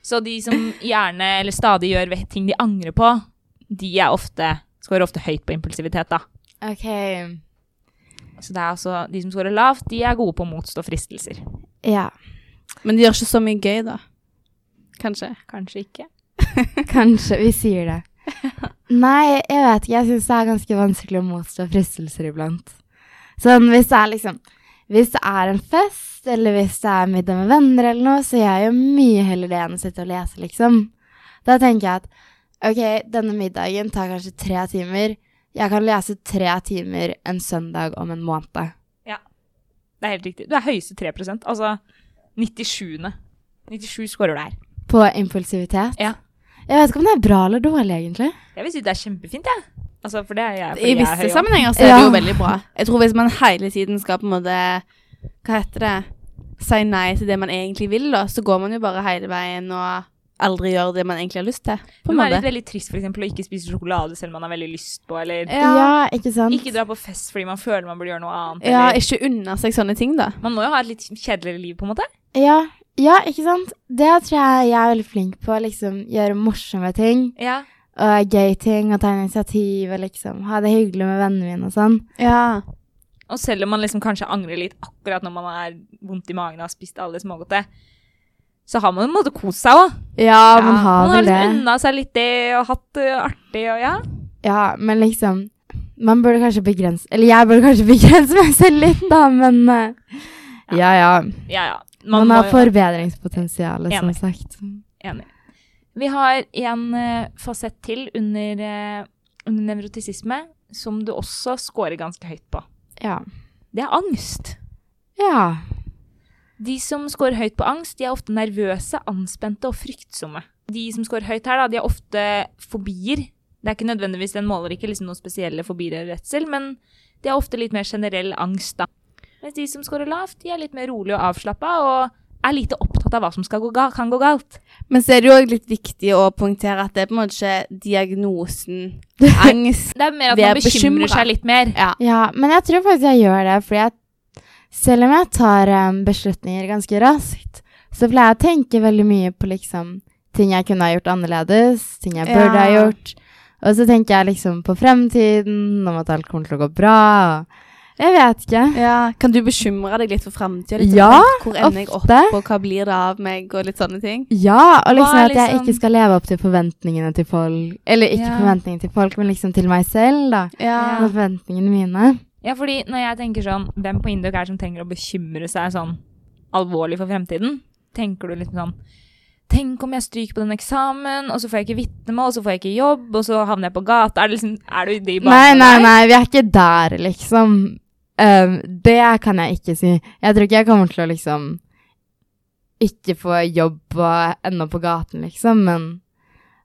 A: Så de som gjerne eller stadig gjør ve- ting de angrer på, de er ofte, scorer ofte høyt på impulsivitet. da.
C: Ok.
A: Så det er altså, De som scorer lavt, de er gode på å motstå fristelser.
C: Ja,
B: Men det gjør ikke så mye gøy, da. Kanskje.
A: Kanskje ikke.
C: kanskje vi sier det. Nei, jeg vet ikke. Jeg syns det er ganske vanskelig å motstå fristelser iblant. Sånn hvis det er liksom Hvis det er en fest, eller hvis det er middag med venner eller noe, så gjør jeg jo mye heller det enn å sitte og lese, liksom. Da tenker jeg at ok, denne middagen tar kanskje tre timer. Jeg kan lese tre timer en søndag om en måned.
A: Det er helt riktig. Du er høyeste 3 Altså 97. 97 scorer du her.
C: På impulsivitet.
A: Ja.
C: Jeg vet ikke om det er bra eller dårlig, egentlig.
A: Jeg vil si det er kjempefint, jeg. Altså, for det er jeg. fordi
B: I
A: jeg er høy
B: visse
A: også.
B: sammenhenger så er det
C: Ja.
B: jo veldig bra. Jeg tror hvis man hele tiden skal på en måte Hva heter det? Si nei til det man egentlig vil, da, så går man jo bare hele veien og aldri gjør det man egentlig har lyst til. På
A: Men det
B: en
A: er litt
B: måte.
A: veldig trist for eksempel, å ikke spise sjokolade selv om man har veldig lyst på, eller
B: Ja.
C: Ja, ikke sant?
A: ikke dra på fest fordi man føler man burde gjøre noe annet.
B: Ja,
A: eller,
B: ikke unne seg sånne ting, da.
A: man må jo ha et litt kjedeligere liv, på en måte.
C: Ja, ja, ikke sant? Det tror jeg jeg er veldig flink på. Liksom gjøre morsomme ting.
A: Ja.
C: Og gøy ting, og ta initiativ, og liksom ha det hyggelig med vennene mine og sånn.
B: Ja.
A: Og selv om man liksom kanskje angrer litt akkurat når man er vondt i magen og har spist alle smågodtet, så har man på en måte kost seg òg.
C: Ja, man har
A: man har
C: vel det.
A: liksom unna seg litt det og hatt det artig og ja.
C: Ja, men liksom Man burde kanskje begrense Eller jeg burde kanskje begrense meg selv litt, da, men eh, Ja, ja.
A: Ja, ja.
C: Man,
A: må
C: har
A: jo-
C: forbedringspotensial, som
A: Enig.
C: sagt.
A: Enig. Vi har en eh, fasett til under, eh, under nevrotisisme som du også scorer ganske høyt på.
C: Ja.
A: Det er angst.
C: Ja.
A: De som scorer høyt på angst, de er ofte nervøse, anspente og fryktsomme. De som scorer høyt her, da, de har ofte fobier. Det er ikke nødvendigvis, Den måler ikke liksom noen spesielle fobier eller redsel, men de har ofte litt mer generell angst. da. Mens de som scorer lavt, de er litt mer rolig og avslappa og er lite opptatt av hva som skal gå ga kan gå galt.
B: Men så er det jo òg litt viktig å poengtere at det er på en måte ikke diagnosen angst.
A: Det er mer at
B: Vi er
A: man bekymrer
B: bekymret.
A: seg litt mer.
B: Ja.
C: ja. Men jeg tror faktisk jeg gjør det, fordi jeg Selv om jeg tar eh, beslutninger ganske raskt, så pleier jeg å tenke veldig mye på liksom ting jeg kunne ha gjort annerledes, ting jeg burde ha
B: Ja.
C: gjort. Og så tenker jeg liksom på fremtiden, om at alt kommer til å gå bra. Jeg vet ikke.
B: Ja, Kan du bekymre deg litt for framtida?
C: Ja,
B: Hvor ender jeg opp,
C: ofte.
B: og hva blir det av meg, og litt sånne ting?
C: Ja, og liksom
A: Hva er
C: at jeg
A: liksom-
C: ikke skal leve opp til forventningene til folk. Eller ikke
A: Ja.
C: forventningene til folk, men liksom til meg selv, da.
A: Ja.
C: Og forventningene mine.
A: Ja, fordi når jeg tenker sånn, hvem på Induk er det som trenger å bekymre seg sånn alvorlig for fremtiden? Tenker du liksom sånn, tenk om jeg stryker på den eksamen, og så får jeg ikke vitnemål, og så får jeg ikke jobb, og så havner jeg på gata. Er, det liksom, er du i de
C: Nei,
A: banene
C: nei,
A: der?
C: nei, vi er ikke der, liksom. Um, det kan jeg ikke si. Jeg tror ikke jeg kommer til å liksom ikke få jobb og ende opp på gaten, liksom, men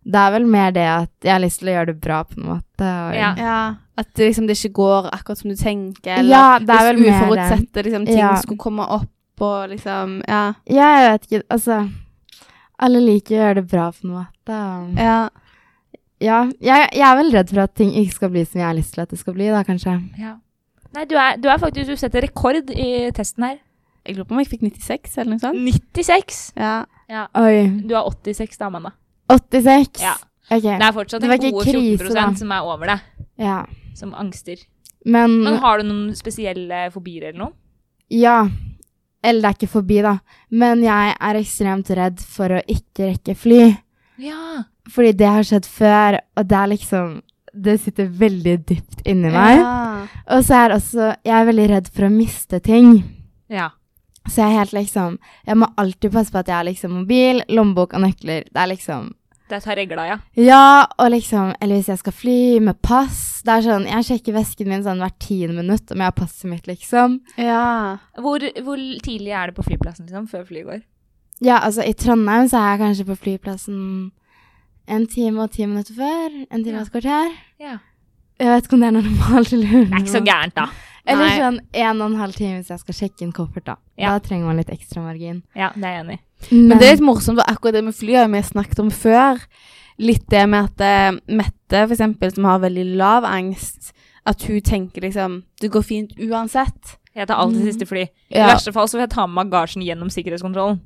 C: det er vel mer det at jeg har lyst til å gjøre det bra på en måte. Og,
A: Ja.
B: Ja, At det liksom det ikke går akkurat som du tenker, eller
C: Ja, det er vel
B: hvis
C: mer det.
B: uforutsette liksom, ting
C: Ja.
B: skulle komme opp og liksom Ja.
C: Ja, jeg vet ikke, altså Alle liker å gjøre det bra på en måte. Og,
B: ja.
C: Ja, jeg, jeg er vel redd for at ting ikke skal bli som jeg har lyst til at det skal bli, da, kanskje.
A: Ja. Nei, du er, du er faktisk, du setter rekord i testen her.
B: Jeg lurer på om jeg fikk 96 eller noe
C: Mm.
B: sånt.
A: 96.
B: Ja.
C: Oi.
A: Du har 86 da, Amanda.
C: 86?
A: Ja.
C: Ok.
A: Det er fortsatt
C: Det
A: en
C: var ikke
A: gode
C: krise,
A: 14
C: da.
A: som er over deg,
C: Ja.
A: som angster.
C: Men
A: Men har du noen spesielle fobier eller noe?
C: Ja. Eller det er ikke forbi, da. Men jeg er ekstremt redd for å ikke rekke fly.
A: Ja.
C: Fordi det har skjedd før, og det er liksom Det sitter veldig dypt inni meg.
B: Ja.
C: Og så er også Jeg er veldig redd for å miste ting.
A: Ja.
C: Så jeg er helt liksom Jeg må alltid passe på at jeg har liksom mobil, lommebok og nøkler. Det er liksom
A: Det tar regla, ja.
C: Ja, og liksom Eller hvis jeg skal fly med pass. Det er sånn, Jeg sjekker vesken min sånn hvert tiende minutt om jeg har passet mitt, liksom.
B: ja.
A: Hvor, hvor tidlig er det på flyplassen, liksom, før flyet går?
C: Ja, altså I Trondheim så er jeg kanskje på flyplassen en time og ti minutter før. En time og et kvarter.
A: Ja.
C: Jeg vet ikke om det er noe normalt. Eller
A: Det er ikke så
C: unormalt.
A: gærent, da.
C: Eller
B: Nei.
C: sånn en og en halv time hvis jeg skal sjekke inn koffert. Da
A: Ja.
C: Da trenger man litt ekstra margin.
A: Ja, det er jeg enig i.
B: Men det er litt morsomt, for akkurat det med fly har vi snakket om før. Litt det med at eh, Mette, for eksempel, som har veldig lav angst, at hun tenker liksom Det går fint uansett.
A: Jeg tar alltid siste fly. I
B: Ja.
A: verste fall så får jeg ta med bagasjen gjennom sikkerhetskontrollen.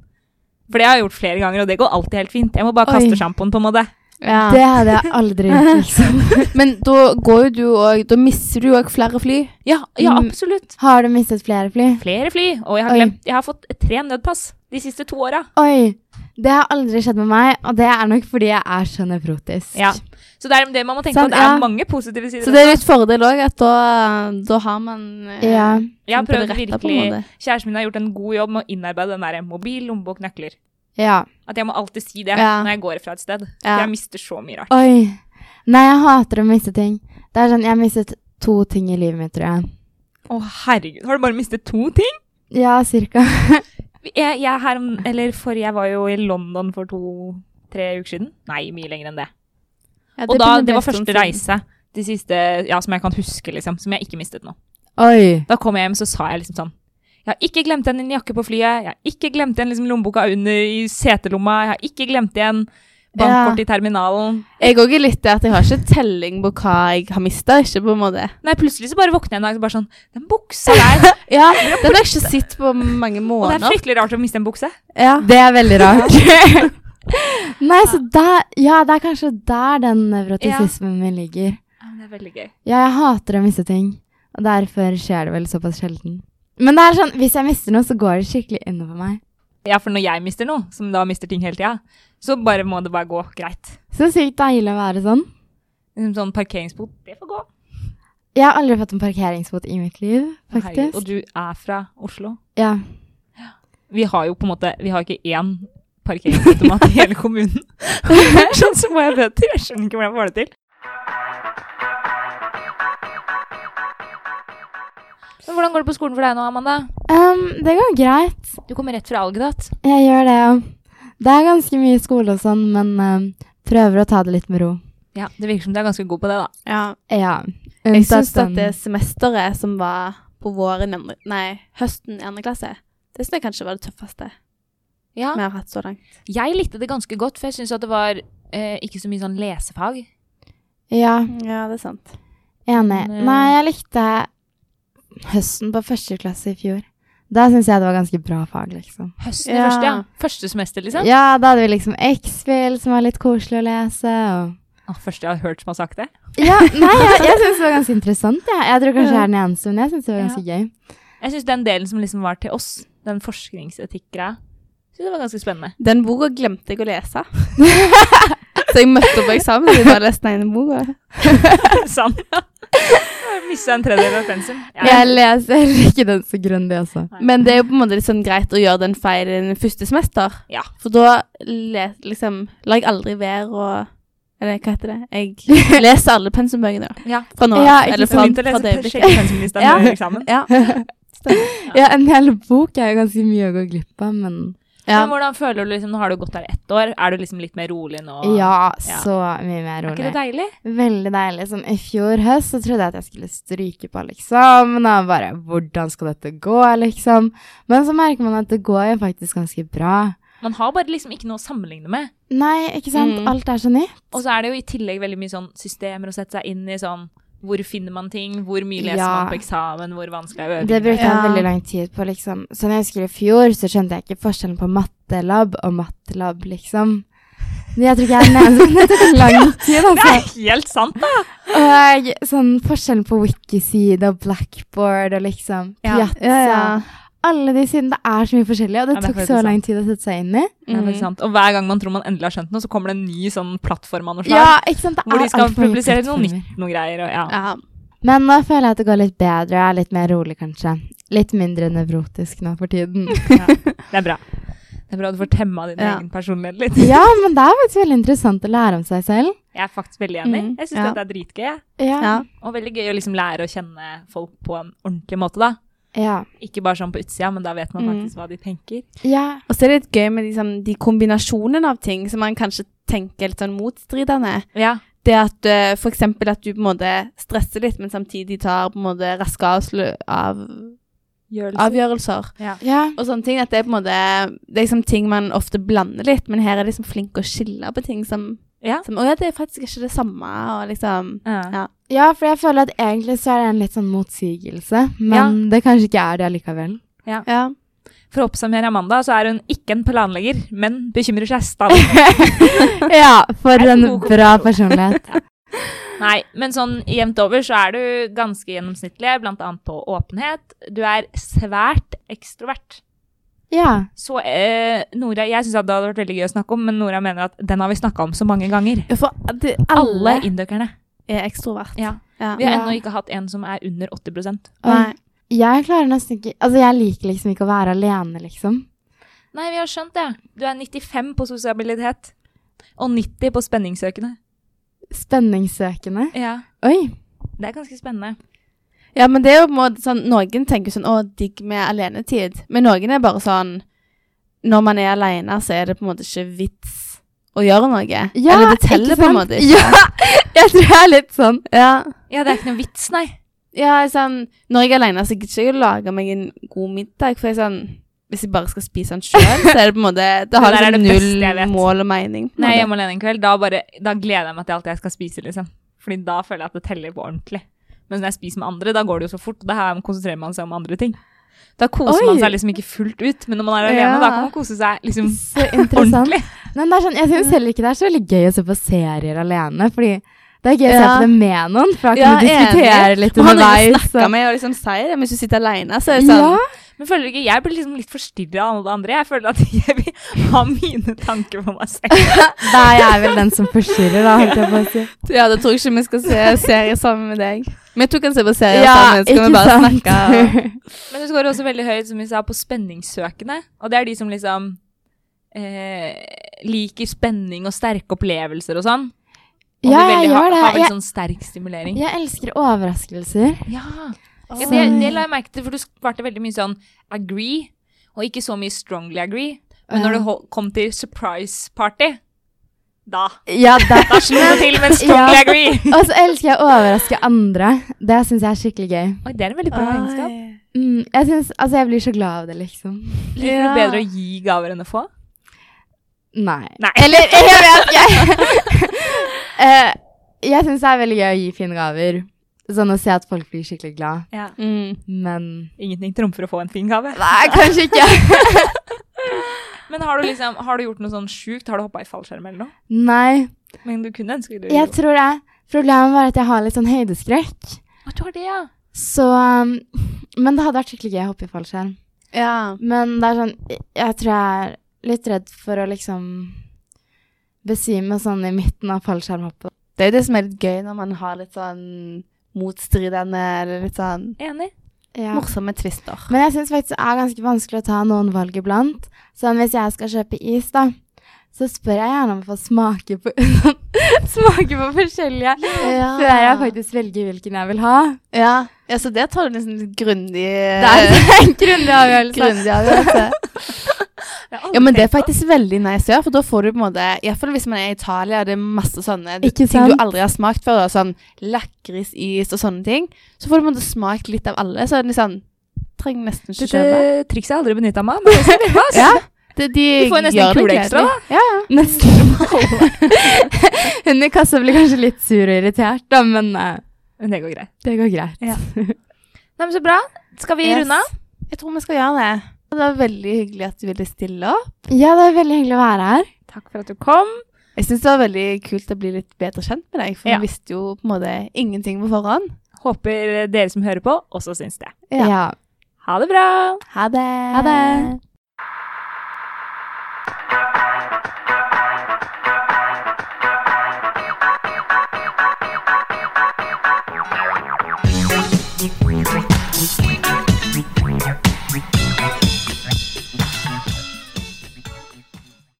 A: For det har jeg gjort flere ganger, og det går alltid helt fint. Jeg må bare
C: Oi.
A: kaste sjampoen, på en måte.
C: det hadde jeg aldri gjort, liksom.
B: Men da går jo du òg Da mister du òg flere fly.
A: Ja, ja
C: Mm.
A: absolutt.
C: Har du mistet flere fly?
A: Flere fly, og jeg har
C: Oi.
A: glemt Jeg har fått tre nødpass de siste to åra.
C: Oi! Det har aldri skjedd med meg, og det er nok fordi jeg er så nevrotisk.
A: Ja. Så det er det man må tenke
B: Sant,
A: på. Det er
B: ja.
A: mange positive
B: Så
A: sider.
B: det er litt fordel òg, at da, da har man eh,
C: Ja.
A: Jeg har
B: på det
A: prøvd
B: rette, på en
A: virkelig
B: måte.
A: Kjæresten min har gjort en god jobb med å innarbeide den der mobil, lommebok, nøkler.
C: ja.
A: At jeg må alltid si det
B: Ja.
A: når jeg går fra et sted.
B: Ja.
A: For jeg mister så mye rart.
C: Oi. Nei, jeg hater å miste ting. Det er sånn, Jeg har mistet to ting i livet mitt, tror jeg.
A: Å, herregud. Har du bare mistet to ting?
C: Ja, cirka.
A: Jeg, jeg, er her, om- eller for jeg var jo i London for to-tre uker siden. Nei, mye lenger enn det.
B: Ja,
A: Og
B: det
A: da,
B: begynner å
A: det
B: bli
A: var
B: en sånn stund
A: første
B: siden.
A: reise de siste, ja, som jeg kan huske, liksom, som jeg ikke mistet nå.
C: Oi.
A: Da kom jeg hjem, så sa jeg liksom sånn Jeg har ikke glemt igjen en jakke på flyet. Jeg har ikke glemt igjen liksom, lommeboka under i setelomma. Jeg har ikke glemt igjen bankkortet i terminalen.
B: Jeg òg er litt der at jeg har ikke telling på hva jeg har mista, ikke på en måte.
A: Nei, plutselig så bare våkner jeg en dag så bare sånn Den buksa der!
B: Ja, Den har jeg ikke sett på mange
A: Og det er
B: måneder.
A: fryktelig rart å miste en bukse.
B: Ja.
C: Det er veldig rart. Nei, så der, ja, det er kanskje der den nevrotisismen min ligger.
A: Ja, men det er veldig gøy.
C: Ja, jeg hater å miste ting, og derfor skjer det vel såpass sjelden. Men det er sånn, hvis jeg mister noe, så går det skikkelig innover meg.
A: Ja, for når jeg mister noe, som da mister ting hele tida, så bare må det bare gå greit.
C: Så sykt deilig å være sånn.
A: Liksom sånn parkeringsbot, det får gå.
C: Jeg har aldri fått en parkeringsbot i mitt liv,
A: Å, herregud,
C: faktisk.
A: Og du er fra Oslo.
C: Ja,
A: Vi har jo på en måte Vi har ikke én parkeringsautomat i hele kommunen. Det er sånn som må jeg bøter. Jeg skjønner ikke hvordan jeg får det til. Men Hvordan går det på skolen for deg nå, Amanda?
C: um, det går greit.
A: Du kommer rett fra Algedat.
C: Jeg gjør det, ja. Det er ganske mye skole og sånn, men um, prøver å ta det litt med ro.
A: Ja, Det virker som du er ganske god på det, da.
B: Ja.
C: Ja.
B: Jeg syns
C: unntatt
B: at
C: den-
B: det semesteret som var på våren i andre, Nei, høsten i andre klasse, det syns jeg kanskje var det tøffeste
A: Ja.
B: vi har hatt så langt.
A: Jeg likte det ganske godt, for jeg syns at det var eh, ikke så mye sånn lesefag.
C: Ja,
B: Ja, det er sant.
C: enig.
A: Nei.
C: Nei, jeg likte høsten på første klasse i fjor. Da syns jeg det var ganske bra fag, liksom.
A: Høsten
B: Ja.
A: først, ja. Første semester, liksom.
C: Ja, da hadde vi liksom X-Fill, som var litt koselig å lese. og...
A: Å, første jeg har hørt som har sagt det.
C: Ja, nei, jeg, jeg syns det var ganske interessant. Jeg, jeg tror kanskje jeg er den eneste, men jeg syns det var ganske gøy.
A: Jeg syns den delen som liksom var til oss, den forskningsetikk-greia, synes det var ganske spennende.
B: Den boka glemte jeg å lese. så jeg møtte opp på eksamen og bare leste den ene boka.
A: Sant? Mista en tredjedel av pensum.
C: Jeg leser ikke den så grundig, altså.
B: Men det er jo på en måte litt sånn greit å gjøre den feilen første semester.
A: Ja.
B: For da le, liksom, lar jeg aldri være å Eller hva heter det? Jeg leser alle pensumbøkene da,
A: Ja.
B: fra nå
C: Ja, ikke
B: Eller
A: Så
B: fra,
A: begynte å
B: fra
A: lese
B: det øyeblikket.
A: sjekke pensumlista
B: Ja.
A: før eh, eksamen.
B: Ja.
C: Ja, En hel bok er jo ganske mye å gå glipp av, men
B: Ja.
A: Men hvordan føler du liksom, Nå har du gått der ett år. Er du liksom litt mer rolig nå?
C: ja,
A: Ja.
C: så mye mer
A: Er ikke
C: rolig.
A: det deilig?
C: Veldig deilig. Sånn, I fjor høst så trodde jeg at jeg skulle stryke på alle eksamen. Og bare Hvordan skal dette gå, liksom? Men så merker man at det går jo faktisk ganske bra.
A: Man har bare liksom ikke noe å sammenligne med.
C: Nei, ikke sant?
B: Mm.
C: Alt er så nytt.
A: Og så er det jo i tillegg veldig mye sånn systemer å sette seg inn i sånn hvor finner man ting, hvor mye leser
C: Ja.
A: man på eksamen, hvor vanskelig er
C: Det
A: øvingene?
C: brukte jeg
B: Ja.
C: veldig lang tid på, liksom. Så når jeg husker i fjor, så skjønte jeg ikke forskjellen på mattelab og mattelab, liksom. Men Jeg tror ikke jeg er den eneste, men det tok lang tid,
A: Det
C: altså.
A: er helt sant, da!
C: Og sånn forskjellen på wikiside og blackboard og liksom
A: Ja.
C: piazza. Alle de sidene. Det er så mye forskjellig,
A: Ja,
C: og det
A: det er
C: tok
A: faktisk
C: så lang tid å sette seg inn i.
A: Det er faktisk sant. Og hver gang man tror man endelig har skjønt noe, så kommer det en ny sånn plattform av noe slag.
C: Ja, ikke sant? Det
A: Hvor
C: er
A: de skal
C: alt for mye
A: publisere noe
C: plattformer.
A: nytt, noe greier. Og, ja.
B: Ja.
C: Men nå føler jeg at det går litt bedre. Jeg er litt mer rolig, kanskje. Litt mindre nevrotisk nå for tiden.
A: Det er bra. Det er bra du får temma din
B: Ja.
A: egen personlighet litt.
C: ja, men det er faktisk veldig interessant å lære om seg selv.
A: Jeg er faktisk veldig enig.
B: Mm.
A: Jeg syns
C: Mhm. Ja.
A: dette er dritgøy. jeg.
B: Ja.
A: Og veldig gøy å liksom lære å kjenne folk på en ordentlig måte, da.
C: ja.
A: Ikke bare sånn på utsida, men da vet man
C: Mhm.
A: faktisk hva de tenker.
C: Ja,
B: Og så er det litt gøy med de, sånn, de kombinasjonene av ting som man kanskje tenker litt sånn motstridende.
A: Ja.
B: Det at eh, for eksempel at du på en måte stresser litt, men samtidig tar på en måte raske avslu- av, avgjørelser.
C: ja,
B: Og sånne ting, at det er på en måte Det er liksom ting man ofte blander litt, men her er liksom flink å skille på ting som,
A: Ja.
B: som Å ja, det er faktisk ikke det samme, og liksom
A: Ja.
C: ja, for jeg føler at egentlig så er det en litt sånn motsigelse, men
A: Ja.
C: det kanskje ikke er det allikevel.
B: Ja.
A: For å oppsummere Amanda, så er hun ikke en planlegger, men bekymrer seg stadig.
C: Ja, for
A: er
C: en
A: en god
C: bra personlighet.
A: Nei, men sånn jevnt over så er du ganske gjennomsnittlig, blant annet på åpenhet. Du er svært ekstrovert.
C: Ja,
A: Så eh, Nora, jeg syns det hadde vært veldig gøy å snakke om, men Nora mener at den har vi snakka om så mange ganger.
B: For det,
A: Alle
B: alle
A: indokerne.
B: er ekstrovert.
A: Ja.
B: Ja.
A: Vi har
C: Ja.
A: ennå ikke hatt en som er under 80
B: Nei.
C: jeg klarer nesten ikke, altså jeg liker liksom ikke å være alene, liksom.
A: Nei, vi har skjønt det. Du er 95 på sosialitet. Og 90 på spenningssøkende.
C: Spenningssøkende.
A: Ja.
C: Oi,
A: Det er ganske spennende.
B: Ja, men det er jo på en måte sånn Noen tenker sånn 'Å, digg med alenetid', men noen er bare sånn Når man er alene, så er det på en måte ikke vits å gjøre noe.
C: ja,
B: Eller det
C: ikke
B: teller på en
C: sant?
B: måte ikke.
C: Ja, jeg tror jeg er litt sånn.
B: Ja.
A: Ja, det er ikke noe vits, nei.
B: Ja, jeg er sånn, når jeg er alene, så gidder jeg ikke å lage meg en god middag. For jeg er sånn, hvis jeg bare skal spise den sjøl, så er det på en måte Da har
A: Det der
B: jeg
A: er
B: sånn
A: det beste jeg
B: null
A: vet.
B: mål og mening. på en
A: Når jeg er
B: måte.
A: hjemme alene en kveld, da, bare, da gleder jeg meg til alt jeg skal spise, liksom. Fordi da føler jeg at det teller på ordentlig. Men når jeg spiser med andre, da går det jo så fort, og da her konsentrerer man seg om andre ting. Da koser
C: Oi.
A: man seg liksom ikke fullt ut, men når man er alene,
B: Ja.
A: da kan man kose seg liksom
C: Så interessant.
A: ordentlig.
C: Men det er sånn, jeg syns heller ikke det er så veldig gøy å se på serier alene. Fordi det er gøy å se
B: Ja.
C: på det med noen, for da kan
B: Ja,
C: du diskutere
B: enig.
C: litt
B: Og han har jo
C: underveis.
B: snakka
C: og-
B: med og liksom sier det, men hvis du sitter alene, så er det sånn
C: Ja,
A: Men føler du ikke, jeg blir liksom litt forstyrra av alle andre. Jeg føler at jeg vil ha mine tanker for meg selv.
C: da er jeg vel den som forstyrrer, da, holdt jeg på å si.
B: Ja, da tror jeg ikke vi skal se serier sammen med deg. Vi to kan se på serier
C: Ja,
B: sammen, så kan vi bare
C: sant?
B: snakke.
A: Men du skårer også veldig høyt, som vi sa, på spenningssøkende. Og det er de som liksom eh, liker spenning og sterke opplevelser og sånn. Og
C: Ja,
A: vil
C: jeg
A: veldig ha,
C: gjør det.
A: ha veldig
C: Jeg,
A: sånn sterk stimulering.
C: jeg elsker overraskelser.
A: Ja. det,
B: Så-
A: det
C: Sånn-
A: la jeg merke til, for du svarte veldig mye sånn agree, og ikke så mye strongly agree. Men når
C: Ja.
A: det hol- kom til surprise party, da,
C: Ja, da
A: da slo det til med strongly
C: Ja.
A: agree.
C: Og så elsker jeg å overraske andre. Det syns jeg er skikkelig gøy.
A: Oi, det er en veldig bra egenskap.
C: Mm, jeg, synes, altså, jeg blir så glad av det, liksom.
A: Liker
B: Ja.
A: du bedre å gi gaver enn å få?
C: Nei.
A: Nei.
C: Eller jeg vet jeg Eh, Jeg syns det er veldig gøy å gi fine gaver. Sånn å se at folk blir skikkelig glad.
B: Mm.
C: Men
A: Ingenting trumfer å få en fin gave.
C: Nei, kanskje ikke.
A: Men har du, liksom, har du gjort noe sånn sjukt? Har du hoppa i fallskjerm eller noe?
C: Nei.
A: Men du kunne ønske du
C: Jeg tror det. Problemet var at jeg har litt sånn høydeskrekk.
A: Å, du har det, ja.
C: Så um, Men det hadde vært skikkelig gøy å hoppe i fallskjerm.
B: Ja.
C: Men det er sånn Jeg tror jeg er litt redd for å liksom besvime sånn i midten av fallskjermhoppet.
B: Det er jo det som er litt gøy når man har litt sånn motstridende eller litt sånn
A: Enig.
C: Ja.
B: morsomme twister.
C: Men jeg syns faktisk det er ganske vanskelig å ta noen valg iblant. Sånn hvis jeg skal kjøpe is, da, så spør jeg gjerne om å få smake på Smake på forskjellige
B: Ja.
C: før jeg faktisk velger hvilken jeg vil ha.
B: Ja. ja, så der tar du liksom litt grundig eh,
C: Det er en grundig avgjørelse.
B: Grundig altså. avgjørelse. Ja, men det er faktisk veldig nice å gjøre, for da får du på en måte Iallfall hvis man er i Italia, og det er masse sånne
C: Ikke
B: ting du
C: sant?
B: aldri har smakt før, da, sånn lakrisis og sånne ting, så får du på en måte smakt litt av alle, så er det litt sånn Trenger nesten ikke kjøpe.
A: Dette trikset har jeg aldri benytta meg av. men det ser bra ut.
B: Ja, det, de
A: Du får jo nesten en
B: gjør det
A: kule ekstra,
B: gledelig.
A: da.
C: Nesten. Hun i kassa blir kanskje litt sur og irritert, da, men eh,
A: Men det går greit.
C: det går greit.
A: Ja. Nei, men Så bra. Skal vi
B: Yes.
A: runde av?
B: Jeg tror vi skal gjøre det. Og Det var veldig hyggelig at du ville stille opp.
C: Ja, det er veldig hyggelig å være her.
A: Takk for at du kom.
B: Jeg syns det var veldig kult å bli litt bedre kjent med deg, for vi
A: Ja.
B: visste jo på en måte ingenting på forhånd.
A: Håper dere som hører på, også syns det.
B: Ja. Eh.
C: ja.
A: Ha det bra!
B: Ha det.
C: Ha det.
D: Thank